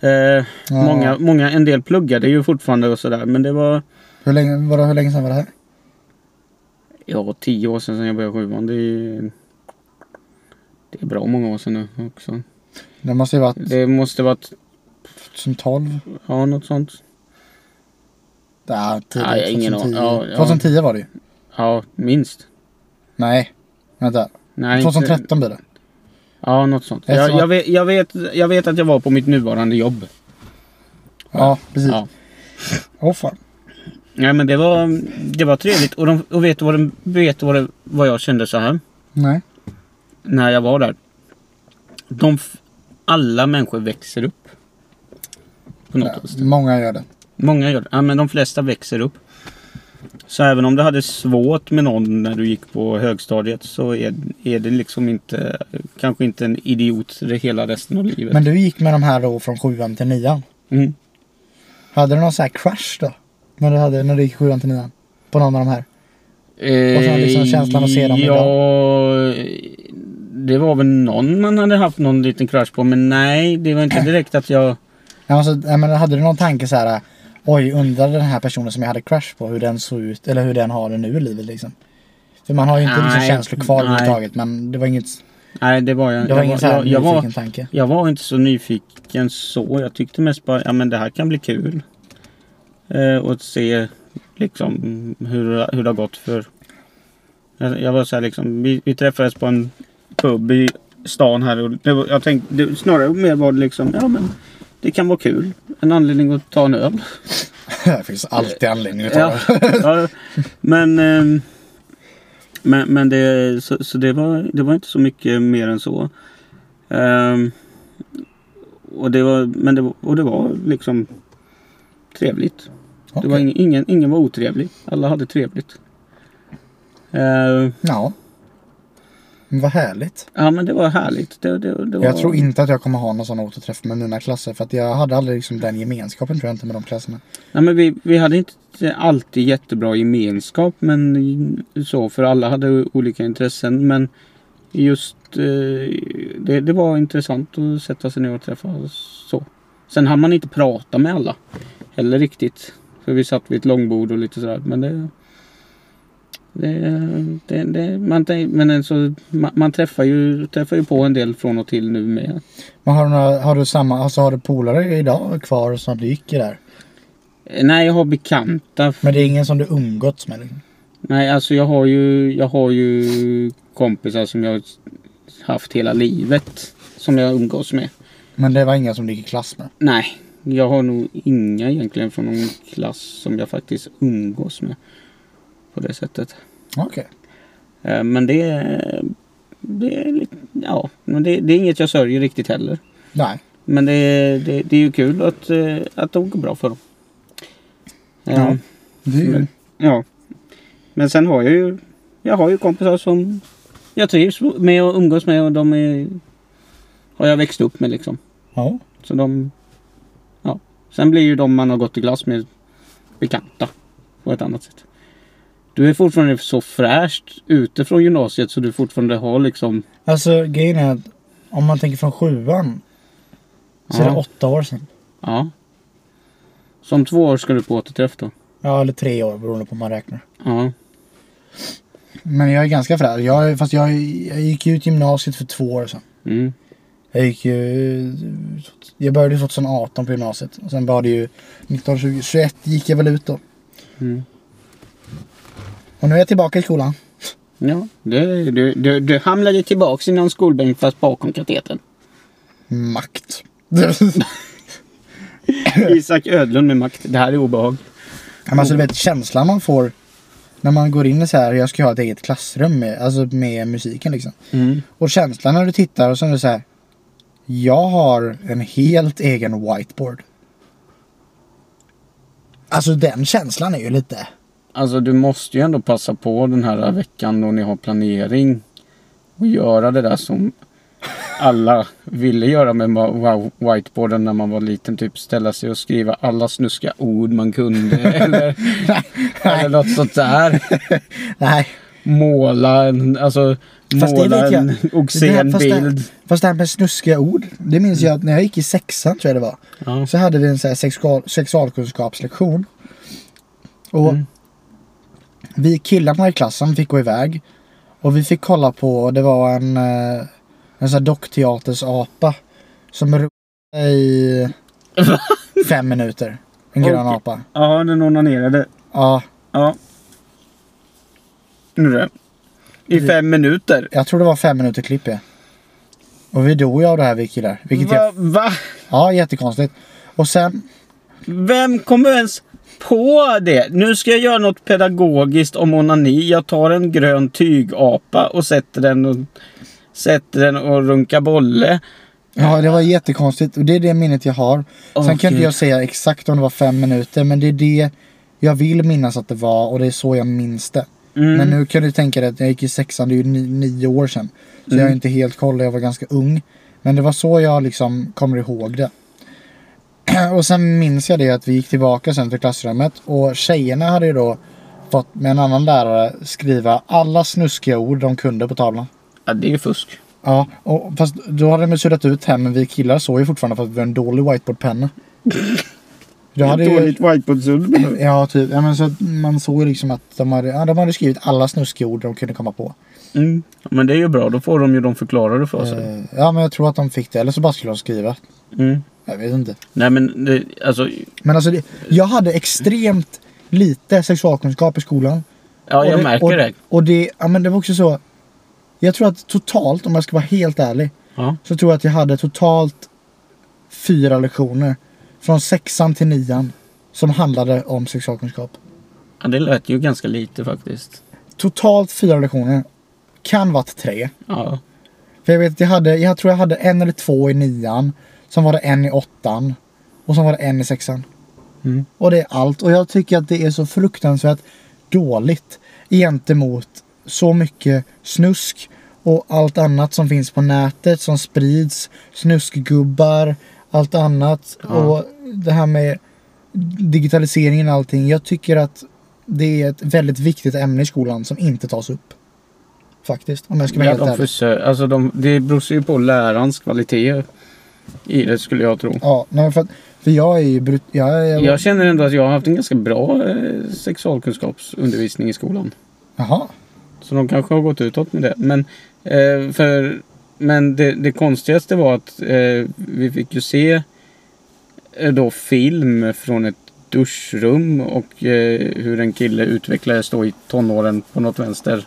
B: Eh,
A: Ja.
B: många, många, en del pluggade ju fortfarande och sådär men det var...
A: Hur länge, var det, hur länge sedan var det här?
B: Ja, tio år sedan, sedan jag började sjuan. Det är, det är bra många år sedan nu också.
A: Det måste ju varit
B: Det måste varit,
A: 2012?
B: ja något sånt.
A: Ja, tidigt,
B: Nej, jag har ingen
A: 2010.
B: aning. Ja, ja.
A: 2010 var det ju.
B: Ja, minst.
A: Nej. Vänta.
B: Nej, inte-
A: 2013 blir det.
B: Ja, något sånt.
A: Eftersom att-
B: Jag, jag, vet, jag, vet, jag vet att jag var på mitt nuvarande jobb.
A: Ja, precis. Åh
B: Ja.
A: fan.
B: Nej, men det var, det var trevligt. Och, de, och vet du vad, de, vet du vad, det, vad jag kände så här?
A: Nej.
B: När jag var där. De, f- alla människor växer upp. På något vis.
A: Många gör det.
B: Många gör det. Ja, men de flesta växer upp. Så även om du hade svårt med någon när du gick på högstadiet så är, är det liksom inte, kanske inte en idiot hela resten av livet.
A: Men du gick med de här då från sjuan till nian.
B: Mm.
A: Hade du någon sån här crush då? När du, hade, när du gick sjuan till nian? På någon av de här?
B: Eh,
A: Och sen liksom känslan att se dem
B: ja, Det var väl någon man hade haft någon liten crush på men nej det var inte direkt att jag...
A: Ja, Alltså, nej, men hade du någon tanke så här? Oj, undrar den här personen som jag hade crush på hur den såg ut eller hur den har det nu i livet liksom. För man har ju inte liksom
B: Nej,
A: känslor kvar
B: nej.
A: överhuvudtaget men det var inget,
B: Nej det var jag
A: det var ingen så här
B: jag, jag, var,
A: nyfiken
B: <laughs>
A: tanke.
B: jag var inte så nyfiken så. Jag tyckte mest bara ja men det här kan bli kul. Eh, och att se liksom hur, hur det har gått för... Jag, jag var så här liksom vi, vi träffades på en pub i stan här och det var, jag tänkte det, snarare mer var det liksom ja men det kan vara kul. En anledning att ta en öl.
A: det finns alltid anledning att ta
B: Ja,
A: det.
B: ja. Men, ehm, men, men det, så, så det, var, det var inte så mycket mer än så. Ehm, och, det var, men det, var- och det var liksom trevligt. Det var
A: Okej.
B: ing- ingen, ingen var otrevlig. Alla hade trevligt. Ehm,
A: Ja. Men vad härligt.
B: ja men det var härligt. Det, det, det var,
A: Jag tror inte att jag kommer ha någon sån återträff med mina klasser för att jag hade aldrig liksom den gemenskapen tror jag inte med de klasserna.
B: Nej, men vi, vi hade inte alltid jättebra gemenskap men så för alla hade olika intressen men just eh, det, det var intressant att sätta sig ner och träffas så. Sen hann man inte prata med alla heller riktigt. För vi satt vid ett långbord och lite sådär men det, det, det, det man, tänk- men alltså, man, man träffar ju, träffar ju på en del från och till nu med.
A: Men har du, några, har du samma, alltså har du polare idag kvar som du gick i där?
B: Eh, Nej jag har bekanta
A: Men det är ingen som du umgåtts med? liksom?
B: Nej, alltså jag har ju, jag har ju kompisar som jag haft hela livet. Som jag umgås med.
A: Men det var inga som du gick i klass med?
B: Nej, jag har nog inga egentligen från någon klass som jag faktiskt umgås med. På det sättet.
A: Okej.
B: Eh, Men det är, det är lite, ja, men det, det är inget jag sörjer riktigt heller.
A: Nej.
B: Men det är, det, det är ju kul att, eh, att det går bra för dem. Eh,
A: Ja. Det är ju...
B: Men- Ja. Men sen har jag ju, jag har ju kompisar som jag trivs med och umgås med och de är, har jag växt upp med liksom.
A: Ja.
B: Så de... Ja. Sen blir ju de man har gått i glas med bekanta på ett annat sätt. Du är fortfarande så fräscht ute från gymnasiet så du fortfarande har liksom...
A: Alltså grejen är att om man tänker från sjuan. Så är
B: Ja.
A: det åtta år sedan.
B: Ja. Som två år ska du på återträff då.
A: Ja, eller tre år beroende på hur man räknar.
B: Ja.
A: Men jag är ganska fräsch. Jag, fast jag, jag gick ju ut gymnasiet för två år sedan.
B: Mm.
A: Jag gick ju... Jag började 2018 på gymnasiet. Och sen var det ju 19, 20, 21 gick jag väl ut då.
B: Mm.
A: Och nu är jag tillbaka i skolan.
B: Ja, det, du, du, du hamnade tillbaks i någon skolbänk fast bakom kateten.
A: Makt. <laughs>
B: <laughs> Isak Ödlund med makt. Det här är obehag.
A: Men alltså du vet känslan man får när man går in i så här, jag ska ha ett eget klassrum med, alltså med musiken liksom.
B: Mm.
A: Och känslan när du tittar och så är det så här, jag har en helt egen whiteboard. Alltså den känslan är ju lite, <laughs>
B: Alltså du måste ju ändå passa på den här veckan då ni har planering. Och göra det där som alla ville göra med wow- whiteboarden när man var liten. Typ ställa sig och skriva alla snuska ord man <laughs> kunde. eller, eller något sånt där.
A: nej.
B: Måla en, alltså,
A: Fast det
B: måla
A: vet jag.
B: en
A: Det här-
B: obscen
A: fast det-
B: bild.
A: Fast det här med snuskiga ord, det minns jag att när jag gick i sexan tror jag det var.
B: Ja.
A: Så hade vi en så här sexual, sexualkunskapslektion. Och
B: Mm.
A: vi killarna i klassen fick gå iväg. Och vi fick kolla på, det var en, eh, en sån här dockteatersapa. Som rullade
B: <laughs>
A: i fem minuter. En grön
B: Okej.
A: apa.
B: ja, den onanerade.
A: Ja,
B: Ja. Nu det. I fem minuter.
A: jag tror det var fem minuter klipp ja. Och vi dog ju av det här vi killar. Vilket
B: Va,
A: jag,
B: va?
A: ja, jättekonstigt. Och sen,
B: Vem kommer ens på det? Nu ska jag göra något pedagogiskt om onani. Jag tar en grön tygapa och sätter den och, sätter den och runkar bolle.
A: Ja, det var jättekonstigt och det är det minnet jag har.
B: Åh,
A: Sen kan inte
B: Gud.
A: jag säga exakt om det var fem minuter men det är det jag vill minnas att det var och det är så jag minns det.
B: Mm.
A: Men nu kan du tänka dig att jag gick i sexan, det är ju ni- nio år sedan. Så jag har
B: Mm.
A: inte helt koll, jag var ganska ung. Men det var så jag liksom kommer ihåg det. <clears throat> Och sen minns jag det att vi gick tillbaka sen till klassrummet och tjejerna hade ju då fått med en annan lärare skriva alla snuskiga ord de kunde på tavlan.
B: Ja, det är ju fusk.
A: Ja, och, fast då hade de ju suddat ut här men vi killar såg ju fortfarande för att vi har en dålig whiteboardpenna. Då hade ju,
B: whiteboardsudd.
A: ja, typ, ja, men så att man såg ju liksom att de hade, ja, de hade skrivit alla snuskiga ord de kunde komma på.
B: Mm. Men det är ju bra. Då får de ju de förklarade för sig.
A: Eh, ja, men jag tror att de fick det. Eller så bara skulle de skriva.
B: Mm.
A: Jag vet inte.
B: Nej men det, alltså.
A: Men alltså, det, jag hade extremt lite sexualkunskap i skolan.
B: Ja,
A: Och
B: jag
A: det-
B: märker
A: och,
B: det.
A: Och det, ja, men det var också så. Jag tror att totalt, om jag ska vara helt ärlig,
B: Ja.
A: så tror jag att jag hade totalt fyra lektioner. Från sexan till nian. Som handlade om sexualkunskap.
B: ja, det lät ju ganska lite faktiskt.
A: Totalt fyra lektioner. Kan varit tre.
B: Ja.
A: För jag vet att jag hade, jag tror jag hade en eller två i nian. Sen var det en i åttan. Och sen var det en i sexan.
B: Mm.
A: Och det är allt. Och jag tycker att det är så fruktansvärt dåligt. Gentemot så mycket snusk. Och allt annat som finns på nätet som sprids. Snuskgubbar. Allt annat. Och det här med digitaliseringen och allting. Jag tycker att det är ett väldigt viktigt ämne i skolan som inte tas upp. Faktiskt. Om jag ska vara
B: Ja,
A: helt
B: de
A: ärlig.
B: försö- alltså de, det beror ju på lärarens kvalitet i det skulle jag tro.
A: Ja, nej, men för, att, för jag är ju brut... Jag, jag,
B: Jag känner ändå att jag har haft en ganska bra eh, sexualkunskapsundervisning i skolan.
A: Jaha.
B: Så de kanske har gått utåt med det. Men, eh, för, men det, det konstigaste var att eh, vi fick ju se eh, då film från ett duschrum och eh, hur en kille utvecklades då i tonåren på något vänster.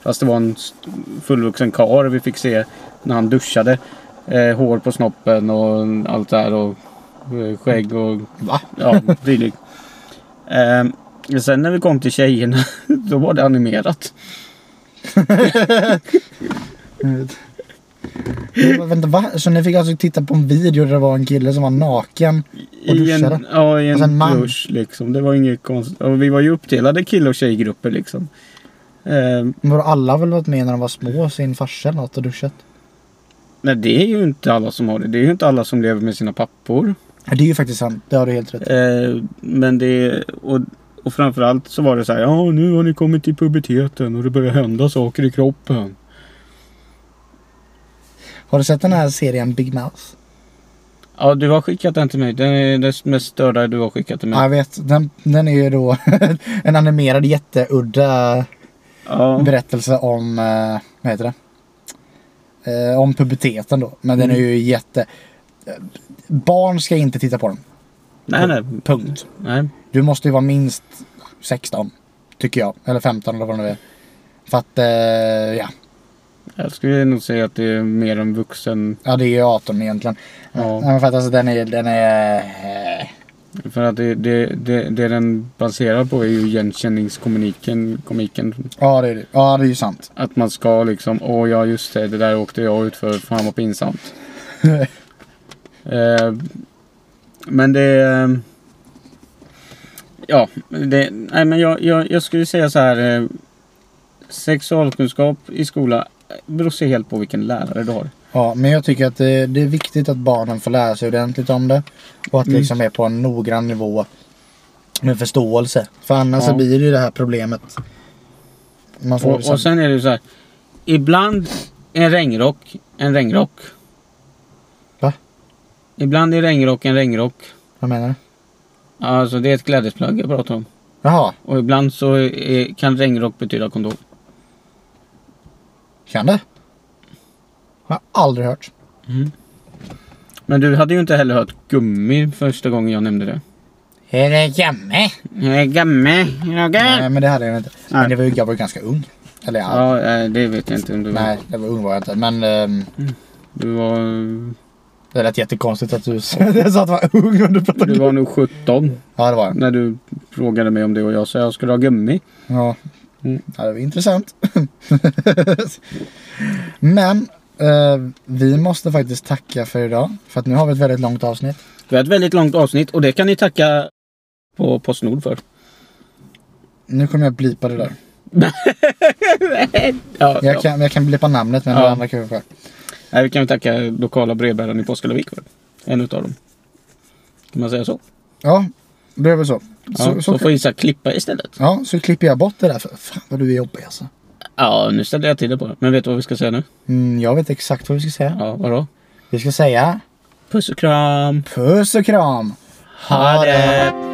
B: Fast det var en st- fullvuxen karl vi fick se när han duschade. Eh, hår på snoppen och allt det här och eh, skägg och
A: Va?
B: ja, dylikt. Ehm, sen när vi kom till tjejerna, <laughs> då var det animerat.
A: Men Vänta, va? Så ni fick alltså titta på en video där det var en kille som var naken? Och
B: I
A: duschade?
B: en, ja, i en,
A: Alltså en man?
B: dusch liksom. Det var inget konstigt. Och vi var ju uppdelade kill och tjejgrupper liksom. Ehm,
A: Men vadå, alla har väl varit med när de var små, sin farsa eller något och duschat?
B: Nej, det är ju inte alla som har det. Det är ju inte alla som lever med sina pappor.
A: Ja, Det är ju faktiskt sant. Det har du helt rätt i.
B: Eh, men det... Och, och framförallt så var det så här. Ja, nu har ni kommit till puberteten och det börjar hända saker i kroppen.
A: Har du sett den här serien Big Mouth?
B: Ja, du har skickat den till mig. Den är den mest störda du har skickat till mig.
A: Ja, jag vet. Den, den är ju då <laughs> en animerad jätteudda
B: Ja.
A: berättelse om, eh, vad heter det? Eh, om puberteten då. Men
B: Mm.
A: den är ju jätte... eh, Barn ska inte titta på den.
B: Nej, nej.
A: Punkt.
B: nej.
A: Du måste ju vara minst 16. Tycker jag. Eller 15 eller vad det nu är. För att, eh, ja.
B: Jag skulle nog säga att det är mer en vuxen.
A: Ja det är ju 18 egentligen.
B: Ja.
A: Ja. Men för att alltså den är, den är... eh,
B: För att det, det, det, det den baserar på är ju igenkänningskomiken. Komiken.
A: Ja det är, ja, det är ju sant.
B: Att man ska liksom, åh ja just det, det där åkte jag ut för, fan vad pinsamt. eh, men det... eh, Ja, det, nej men jag, jag, jag skulle säga så här. Eh, sexualkunskap i skola beror sig helt på vilken lärare du har.
A: Ja men jag tycker att det, det är viktigt att barnen får lära sig ordentligt om det. Och att
B: Mm.
A: det liksom är på en noggrann nivå. Med förståelse. För annars
B: Ja.
A: så blir det ju det här problemet. Man får
B: Och,
A: liksom,
B: och sen är det så här. Ibland en regnrock, en regnrock.
A: Va?
B: Ibland är regnrock en regnrock.
A: Vad menar du?
B: Alltså det är ett klädesplagg jag pratar om.
A: Jaha,
B: Och ibland så är, kan regnrock betyda kondom.
A: kan det? Har jag aldrig hört.
B: Men du hade ju inte heller hört gummi första gången jag nämnde det.
A: Är det jamme?
B: Eh, Gummi, Roger?
A: Nej men det hade jag inte.
B: Nej.
A: Men det var ju, jag var ju ganska ung. Eller ja.
B: Ja, eh, det vet jag inte om du var.
A: Nej, det var ung var jag inte. Men ehm,
B: Du var,
A: det lät jättekonstigt att du <laughs> sa jag sa att jag var ung och du pratade
B: du var nog 17
A: Ja, det var jag.
B: när du frågade mig om det och jag sa jag skulle ha gummi.
A: Ja.
B: Mm.
A: ja, det var intressant. <laughs> men eh, vi måste faktiskt tacka för idag. För att nu har vi ett väldigt långt avsnitt.
B: Vi har ett väldigt långt avsnitt och det kan ni tacka på Postnord för.
A: Nu kommer jag blipa det där.
B: Ja, ja.
A: Jag kan, jag kan blipa namnet men
B: Ja.
A: det andra kan vi få.
B: Nej, vi kan väl tacka lokala brevbäraren i Påskallavik för. En utav dem. Kan man säga så?
A: Ja, det är väl så.
B: Ja,
A: Så,
B: så,
A: så,
B: får Isak klippa istället.
A: ja, så klipper jag bort det där. För, fan vad du är jobbig alltså.
B: Ja, nu ställde jag till det på det. Men vet du vad vi ska säga nu?
A: Mm, jag vet exakt vad vi ska säga.
B: Ja, vadå?
A: Vi ska säga
B: Puss och kram!
A: puss och kram.
B: Ha det!